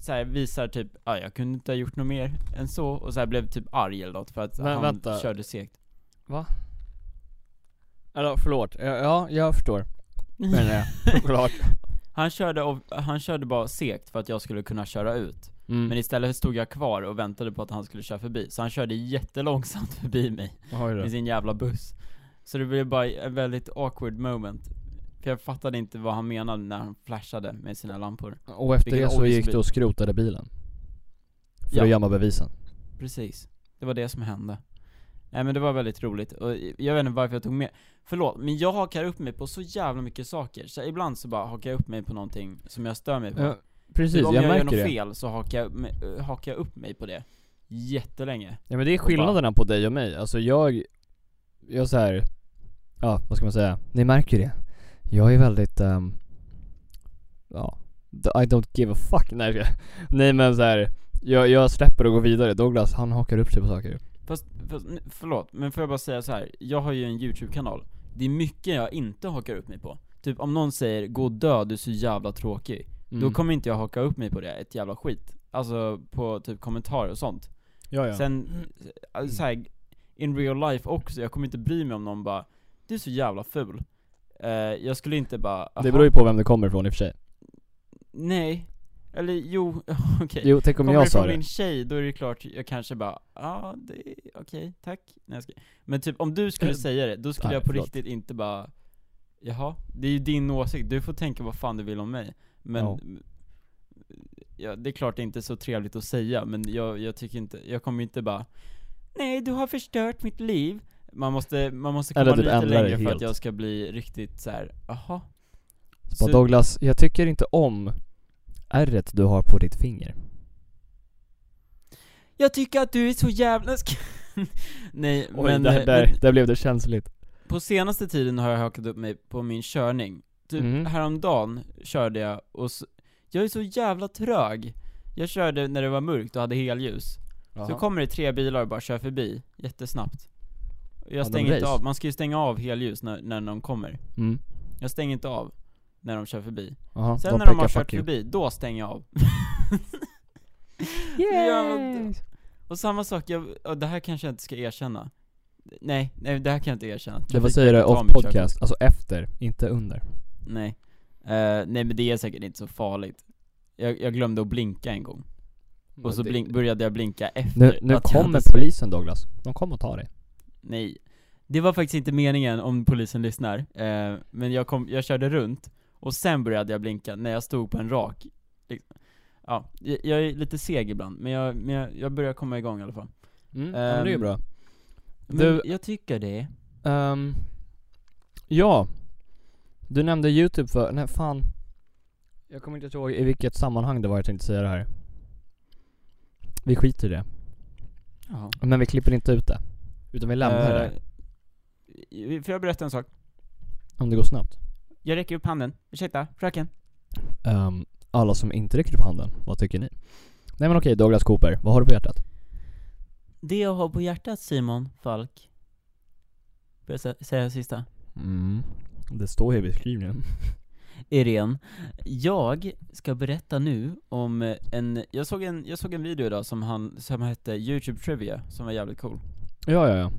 Speaker 1: så här visar typ, ja jag kunde inte ha gjort något mer än så, och så här blev typ arg eller något för att
Speaker 2: Men
Speaker 1: han
Speaker 2: vänta.
Speaker 1: körde segt
Speaker 2: Eller förlåt, ja, ja jag förstår. Men eh, ja, såklart.
Speaker 1: Han körde, och, han körde bara segt för att jag skulle kunna köra ut.
Speaker 2: Mm.
Speaker 1: Men istället stod jag kvar och väntade på att han skulle köra förbi. Så han körde jättelångsamt förbi mig
Speaker 2: Oj då.
Speaker 1: med sin jävla buss. Så det blev bara ett väldigt awkward moment. För jag fattade inte vad han menade när han flashade med sina lampor.
Speaker 2: Och efter
Speaker 1: Vilken
Speaker 2: det så
Speaker 1: obvious
Speaker 2: gick du och skrotade bilen. För
Speaker 1: Ja.
Speaker 2: att gömma bevisen.
Speaker 1: Precis. Det var det som hände. Nej men det var väldigt roligt, och jag vet inte varför jag tog med Förlåt, men jag hakar upp mig på så jävla mycket saker, så ibland så bara hakar jag upp mig på någonting som jag stör mig på
Speaker 2: precis,
Speaker 1: om
Speaker 2: jag,
Speaker 1: jag, gör
Speaker 2: märker
Speaker 1: något
Speaker 2: det.
Speaker 1: fel så hakar jag, upp mig- eh, hakar jag upp mig på det Jättelänge
Speaker 2: Ja men det är skillnaderna på dig och mig. Alltså jag, jag så här. ja vad ska man säga? Ni märker det. Jag är väldigt, ehm, ja, d- I don't give a fuck. Nej, jag- nej men så här. Jag, jag släpper och går vidare. Douglas han hakar upp sig på saker.
Speaker 1: Fast, fast, n- förlåt, men får jag bara säga så här. jag har ju en YouTube-kanal. Det är mycket jag inte hakar upp mig på. Typ om någon säger 'Gå och dö, du är så jävla tråkig' Då
Speaker 2: Mm.
Speaker 1: kommer inte jag haka upp mig på det, ett jävla skit. Alltså på typ kommentarer och sånt.
Speaker 2: ja, ja.
Speaker 1: Sen, alltså, så här, in real life också, jag kommer inte bry mig om någon bara 'Du är så jävla ful' Eh, Jag skulle inte bara
Speaker 2: det
Speaker 1: "Aha."
Speaker 2: beror ju på vem det kommer ifrån i och för sig.
Speaker 1: Eh, Nej, eller jo, okej
Speaker 2: Jo, tänk om
Speaker 1: Kommer
Speaker 2: jag
Speaker 1: det
Speaker 2: sa
Speaker 1: från
Speaker 2: det.
Speaker 1: min tjej, då är det klart, jag kanske bara Ja, det är okej, tack Nej, jag ska... Men typ om du skulle säga det, då skulle
Speaker 2: Nej,
Speaker 1: jag på
Speaker 2: förlåt.
Speaker 1: riktigt inte bara Jaha, det är ju din åsikt, du får tänka vad fan du vill om mig Men
Speaker 2: Ja.
Speaker 1: ja. det är klart det är inte så trevligt att säga, men jag, jag tycker inte, jag kommer ju inte bara Nej, du har förstört mitt liv Man måste, man måste
Speaker 2: Eller
Speaker 1: komma
Speaker 2: typ
Speaker 1: lite
Speaker 2: ändra det
Speaker 1: längre för
Speaker 2: helt.
Speaker 1: att jag ska bli riktigt så här. jaha
Speaker 2: Bara,
Speaker 1: Så-
Speaker 2: Douglas, jag tycker inte om ärret du har på ditt finger.
Speaker 1: Jag tycker att du är så jävla sk- Nej
Speaker 2: Oj,
Speaker 1: men,
Speaker 2: där,
Speaker 1: eh,
Speaker 2: där,
Speaker 1: men
Speaker 2: där blev det känsligt.
Speaker 1: på senaste tiden har jag hakat upp mig på min körning Typ
Speaker 2: Mm.
Speaker 1: häromdagen körde jag och så, jag är så jävla trög Jag körde när det var mörkt och hade helljus Så kommer det tre bilar och bara kör förbi, jättesnabbt
Speaker 2: de
Speaker 1: Jag stänger inte
Speaker 2: race.
Speaker 1: av, man ska ju stänga av helljus när, när de kommer
Speaker 2: Mm.
Speaker 1: Jag stänger inte av när de kör förbi
Speaker 2: Aha,
Speaker 1: Sen när de har
Speaker 2: pekar
Speaker 1: kört
Speaker 2: fuck you.
Speaker 1: förbi, då stänger jag av Ja, vad- Och samma sak, jag, och det här kanske jag inte ska erkänna Nej, nej det här kan jag inte erkänna
Speaker 2: Det var
Speaker 1: Trafikverket
Speaker 2: säger det
Speaker 1: tar
Speaker 2: off
Speaker 1: mitt
Speaker 2: podcast, alltså efter, inte under.
Speaker 1: körkort. Nej, Eh, nej men det är säkert inte så farligt jag, jag glömde att blinka en gång, och så
Speaker 2: Det-
Speaker 1: blink, började jag blinka efter
Speaker 2: Nu, nu
Speaker 1: att jag hade
Speaker 2: kommer
Speaker 1: svängt.
Speaker 2: polisen Douglas, de kommer att ta dig.
Speaker 1: Nej, det var faktiskt inte meningen om polisen lyssnar, eh, men jag, kom, jag körde runt, och sen började jag blinka när jag stod på en rak liksom. Ja, jag, jag är lite seg ibland, men jag, men jag, jag börjar komma igång i alla fall
Speaker 2: Mm, ja, men det är ju
Speaker 1: Ehm,
Speaker 2: bra.
Speaker 1: Men
Speaker 2: Du-
Speaker 1: jag tycker det
Speaker 2: Ehm, ja, du nämnde youtube för, nej fan. Jag kommer inte ihåg i vilket sammanhang det var jag tänkte säga det här. Vi skiter i det.
Speaker 1: Jaha.
Speaker 2: Men vi klipper inte ut det. Utan vi lämnar
Speaker 1: Eh.
Speaker 2: det.
Speaker 1: det. Får jag berätta en sak?
Speaker 2: Om det går snabbt.
Speaker 1: Jag räcker upp handen. Ursäkta, fröken.
Speaker 2: Ehm, alla som inte räcker upp handen, vad tycker ni? Nej men okej Douglas Cooper, vad har du på hjärtat?
Speaker 1: Det jag har på hjärtat Simon Falk. Får jag sä- säga sista?
Speaker 2: Mm. Det står ju i beskrivningen.
Speaker 1: Irene. Jag ska berätta nu om eh, en, jag såg en, jag såg en video idag som han, som hette Youtube Trivia, som var jävligt cool.
Speaker 2: Ja, ja, ja.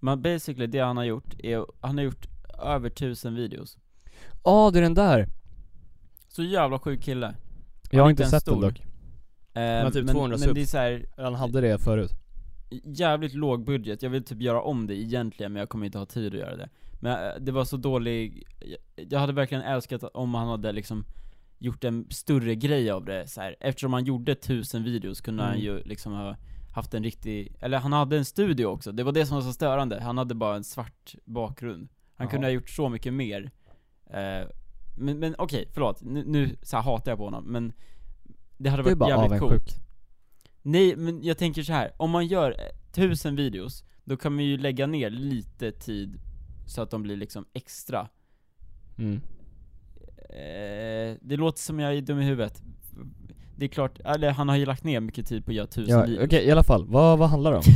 Speaker 1: Men basically det han har gjort är, han har gjort över tusen videos.
Speaker 2: Åh, det är den där!
Speaker 1: Så jävla sjuk kille. Eh,
Speaker 2: Jag har
Speaker 1: är
Speaker 2: inte
Speaker 1: inte
Speaker 2: sett
Speaker 1: ens stor.
Speaker 2: den dock.
Speaker 1: men,
Speaker 2: har typ 200
Speaker 1: men
Speaker 2: subs.
Speaker 1: det är så här,
Speaker 2: Han hade det förut.
Speaker 1: jävligt låg budget, jag vill typ göra om det egentligen men jag kommer inte ha tid att göra det Men eh, det var så dålig, jag- jag hade verkligen älskat om han hade liksom gjort en större grej av det så här. eftersom han gjorde tusen videos kunde han
Speaker 2: Mm.
Speaker 1: ju liksom ha haft en riktig, eller han hade en studio också, det var det som var så störande, han hade bara en svart bakgrund Han
Speaker 2: Jaha.
Speaker 1: kunde ha gjort så mycket mer Eh, Men, men okej, förlåt, nu, nu så här hatar jag på honom men Det hade
Speaker 2: Det är
Speaker 1: varit
Speaker 2: bara
Speaker 1: jävligt
Speaker 2: avundsjuk.
Speaker 1: coolt Nej men jag tänker så här om man gör eh, tusen videos, då kan man ju lägga ner lite tid så att de blir liksom extra
Speaker 2: Mm.
Speaker 1: eh, Det låter som jag är dum i huvudet Det är klart, eller han har ju lagt ner mycket tid på att göra tusen
Speaker 2: Ja, okej
Speaker 1: videos
Speaker 2: i alla fall. Vad, vad handlar det om?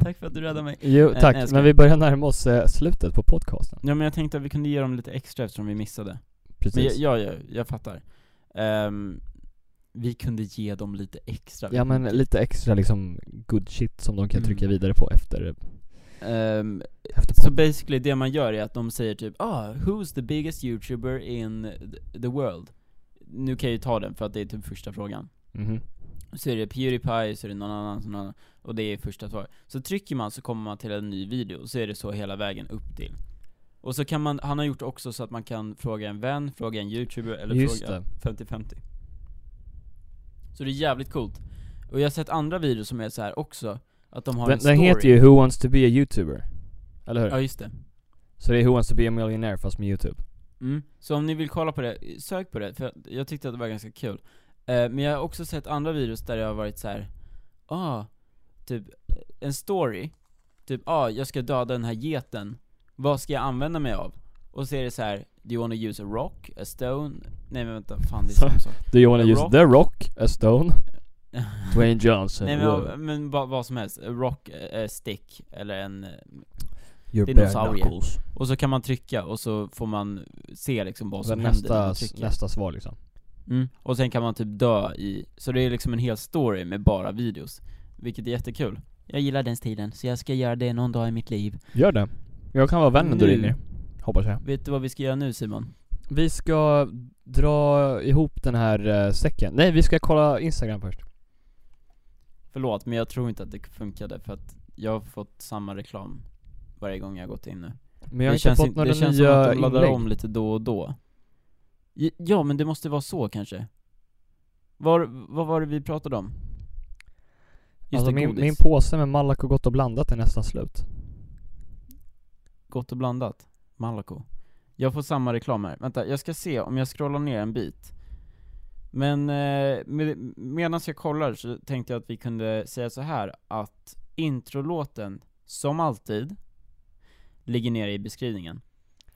Speaker 1: Tack för att du räddade mig
Speaker 2: Jo,
Speaker 1: Nej,
Speaker 2: tack.
Speaker 1: nej, jag skojar.
Speaker 2: men vi börjar närma oss eh, slutet på podcasten.
Speaker 1: Ja men jag tänkte att vi kunde ge dem lite extra eftersom vi missade
Speaker 2: Precis.
Speaker 1: Men jag, ja, ja, jag fattar Ehm, Vi kunde ge dem lite extra
Speaker 2: ja men lite extra liksom good shit som de kan
Speaker 1: Mm.
Speaker 2: trycka vidare på efter,
Speaker 1: Ehm,
Speaker 2: efter
Speaker 1: Så
Speaker 2: podden.
Speaker 1: basically det man gör är att de säger typ ah, who's the biggest youtuber in th- the world? Nu kan jag ju ta den för att det är typ första frågan
Speaker 2: Mhm.
Speaker 1: Så är det Pewdiepie, så är det någon annan, så någon annan och det är första svaret Så trycker man så kommer man till en ny video, och så är det så hela vägen upp till Och så kan man, han har gjort också så att man kan fråga en vän, fråga en youtuber eller
Speaker 2: Just
Speaker 1: fråga 50-50 Så det är jävligt coolt Och jag har sett andra videos som är så här också, att de har
Speaker 2: Den,
Speaker 1: en story
Speaker 2: den heter ju Who wants to be a youtuber? Eller hur?
Speaker 1: Ja just det
Speaker 2: Så det är Who wants to be a millionaire fast med youtube.
Speaker 1: Mm. Så om ni vill kolla på det, sök på det, för jag- jag tyckte att det var ganska kul. Eh, men jag har också sett andra videos där jag har varit så här. ah, typ eh, en story, typ ah, jag ska döda den här geten, vad ska jag använda mig av? Och så är det så här: do you wanna use a rock, a stone? Nej men vänta, fan det är samma sak.
Speaker 2: Do you wanna
Speaker 1: A
Speaker 2: use
Speaker 1: rock?
Speaker 2: the rock, a stone? Dwayne Johnson.
Speaker 1: Nej men,
Speaker 2: wow.
Speaker 1: ja, men vad, vad som helst, rock, eh, stick eller en... eh,
Speaker 2: Your
Speaker 1: dinosaurie. Och så kan man trycka och så får man se liksom vad som händer när
Speaker 2: nästa,
Speaker 1: man trycker.
Speaker 2: nästa svar liksom.
Speaker 1: Mm. Och sen kan man typ dö i, så det är liksom en hel story med bara videos. Vilket är jättekul. Jag gillar den stilen, så jag ska göra det någon dag i mitt liv.
Speaker 2: Gör det. Jag kan vara vän när du
Speaker 1: Nu.
Speaker 2: ringer. Hoppas jag.
Speaker 1: Vet du vad vi ska göra nu Simon?
Speaker 2: Mm. Vi ska dra ihop den här eh, säcken. Nej, vi ska kolla Instagram först.
Speaker 1: Förlåt, men jag tror inte att det funkade för att jag har fått samma reklam varje gång jag har gått in nu.
Speaker 2: Men jag har
Speaker 1: det
Speaker 2: inte
Speaker 1: känns,
Speaker 2: fått
Speaker 1: in,
Speaker 2: några
Speaker 1: det
Speaker 2: nya
Speaker 1: känns som att de laddar
Speaker 2: inlägg.
Speaker 1: om lite då och då. J- Ja, men det måste vara så kanske. Var, vad var det vi pratade om? Just
Speaker 2: Alltså
Speaker 1: det,
Speaker 2: min,
Speaker 1: godis.
Speaker 2: min påse med Malaco Gott och blandat är nästan slut.
Speaker 1: Gott och blandat. Malaco. Jag får samma reklam här. Vänta, jag ska se om jag scrollar ner en bit. Men eh, med, medan jag kollar så tänkte jag att vi kunde säga så här att introlåten, som alltid, ligger nere i beskrivningen.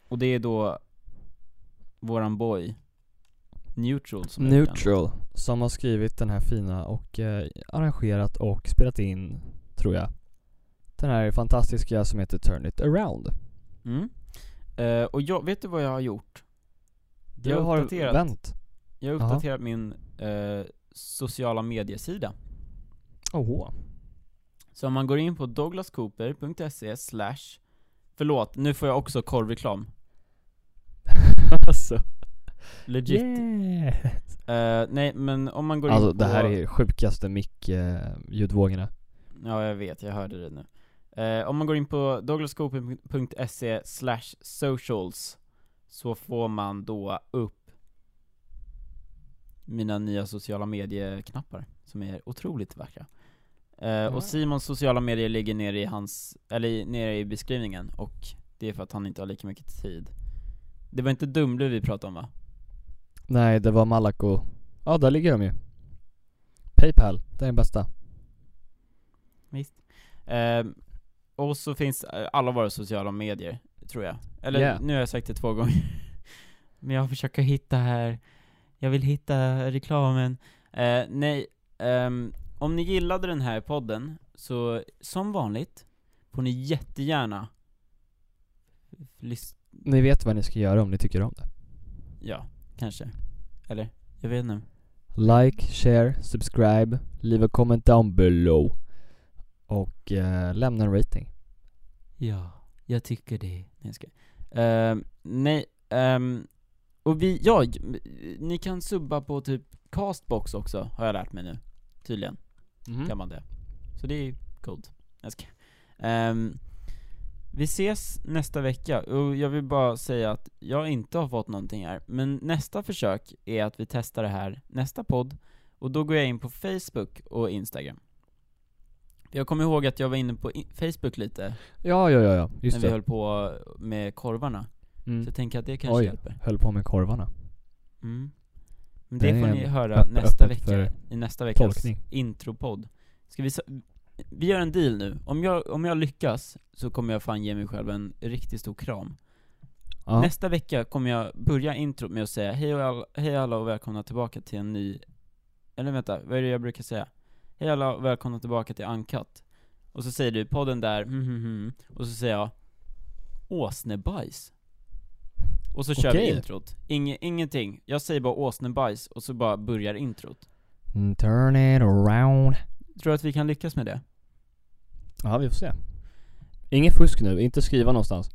Speaker 1: Och det är då våran boy Neutral som har gjort den.
Speaker 2: Neutral. Som har skrivit den här fina och eh, arrangerat och spelat in, tror jag, den här fantastiska som heter Turn It Around.
Speaker 1: Mm. Eh, och jag, vet du vad jag har gjort?
Speaker 2: Du
Speaker 1: Jag har
Speaker 2: har
Speaker 1: uppdaterat.
Speaker 2: vänt.
Speaker 1: Jag har
Speaker 2: Jaha.
Speaker 1: uppdaterat min eh, sociala mediesida.
Speaker 2: Åh.
Speaker 1: Så om man går in på douglascooper.se slash Förlåt, nu får jag också korvreklam.
Speaker 2: alltså.
Speaker 1: Legit.
Speaker 2: Yeah.
Speaker 1: Eh, nej men om man går
Speaker 2: Alltså
Speaker 1: in på...
Speaker 2: det här är sjukaste mick-ljudvågorna.
Speaker 1: Ja jag vet, jag hörde det nu. Eh, om man går in på douglascooper.se slash socials så får man då upp mina nya sociala medier-knappar som är otroligt vackra. Eh,
Speaker 2: Ja.
Speaker 1: och Simons sociala medier ligger nere i hans, eller i- nere i beskrivningen och det är för att han inte har lika mycket tid. Det var inte Dumle vi pratade om va?
Speaker 2: Nej, det var Malaco. Ja, där ligger de ju. Paypal, det är den bästa.
Speaker 1: Ehm, och så finns eh, alla våra sociala medier, tror jag. Eller
Speaker 2: Yeah.
Speaker 1: nu har jag sagt det två gånger. Men jag försöker hitta här, jag vill hitta reklamen. Eh, nej, ehm, om ni gillade den här podden, så som vanligt får ni jättegärna lys-
Speaker 2: Ni vet vad ni ska göra om ni tycker om det.
Speaker 1: ja, kanske. Eller? Jag vet inte.
Speaker 2: Like, share, subscribe, leave a comment down below. Och eh, lämna en rating.
Speaker 1: Ja, jag tycker det. Nej, jag skojar. Ehm, nej, ehm, och vi, ja, j- m- ni kan subba på typ Castbox också, har jag lärt mig nu. Tydligen
Speaker 2: Mm.
Speaker 1: kan man det. Så det är coolt. Jag ska. Ehm, vi ses nästa vecka, och jag vill bara säga att jag inte har fått någonting här, men nästa försök är att vi testar det här nästa podd, och då går jag in på Facebook och Instagram. Jag kommer ihåg att jag var inne på i- Facebook lite
Speaker 2: Ja, ja, ja, ja. Just
Speaker 1: när vi
Speaker 2: det.
Speaker 1: höll på med korvarna.
Speaker 2: Mm.
Speaker 1: Så jag tänker att det kanske
Speaker 2: Oj.
Speaker 1: hjälper.
Speaker 2: Höll på med korvarna.
Speaker 1: Mm. Men det,
Speaker 2: Det är
Speaker 1: får ni
Speaker 2: en
Speaker 1: höra
Speaker 2: öpp-
Speaker 1: nästa
Speaker 2: öppet
Speaker 1: vecka,
Speaker 2: för
Speaker 1: i nästa veckas
Speaker 2: tolkning.
Speaker 1: intropodd. Ska vi, sa- vi gör en deal nu. Om jag, om jag lyckas så kommer jag fan ge mig själv en riktigt stor kram.
Speaker 2: Ja.
Speaker 1: Nästa vecka kommer jag börja intro med att säga hej, och all, hej alla och välkomna tillbaka till en ny... Eller vänta, vad är det jag brukar säga? Hej alla och välkomna tillbaka till Uncut. Och så säger du podden där, mm, mm, mm. och så säger jag åsnebajs. Och så kör vi
Speaker 2: Okej.
Speaker 1: introt. Inge, ingenting. Jag säger bara åsnebajs och så bara börjar introt.
Speaker 2: Mm, Turn it around.
Speaker 1: Tror du att vi kan lyckas med det?
Speaker 2: Ja, vi får se. Ingen fusk nu, inte skriva någonstans.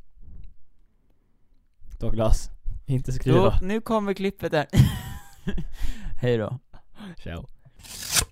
Speaker 2: Douglas, inte skriva.
Speaker 1: Jo, nu kommer klippet där. hej då.
Speaker 2: Ciao.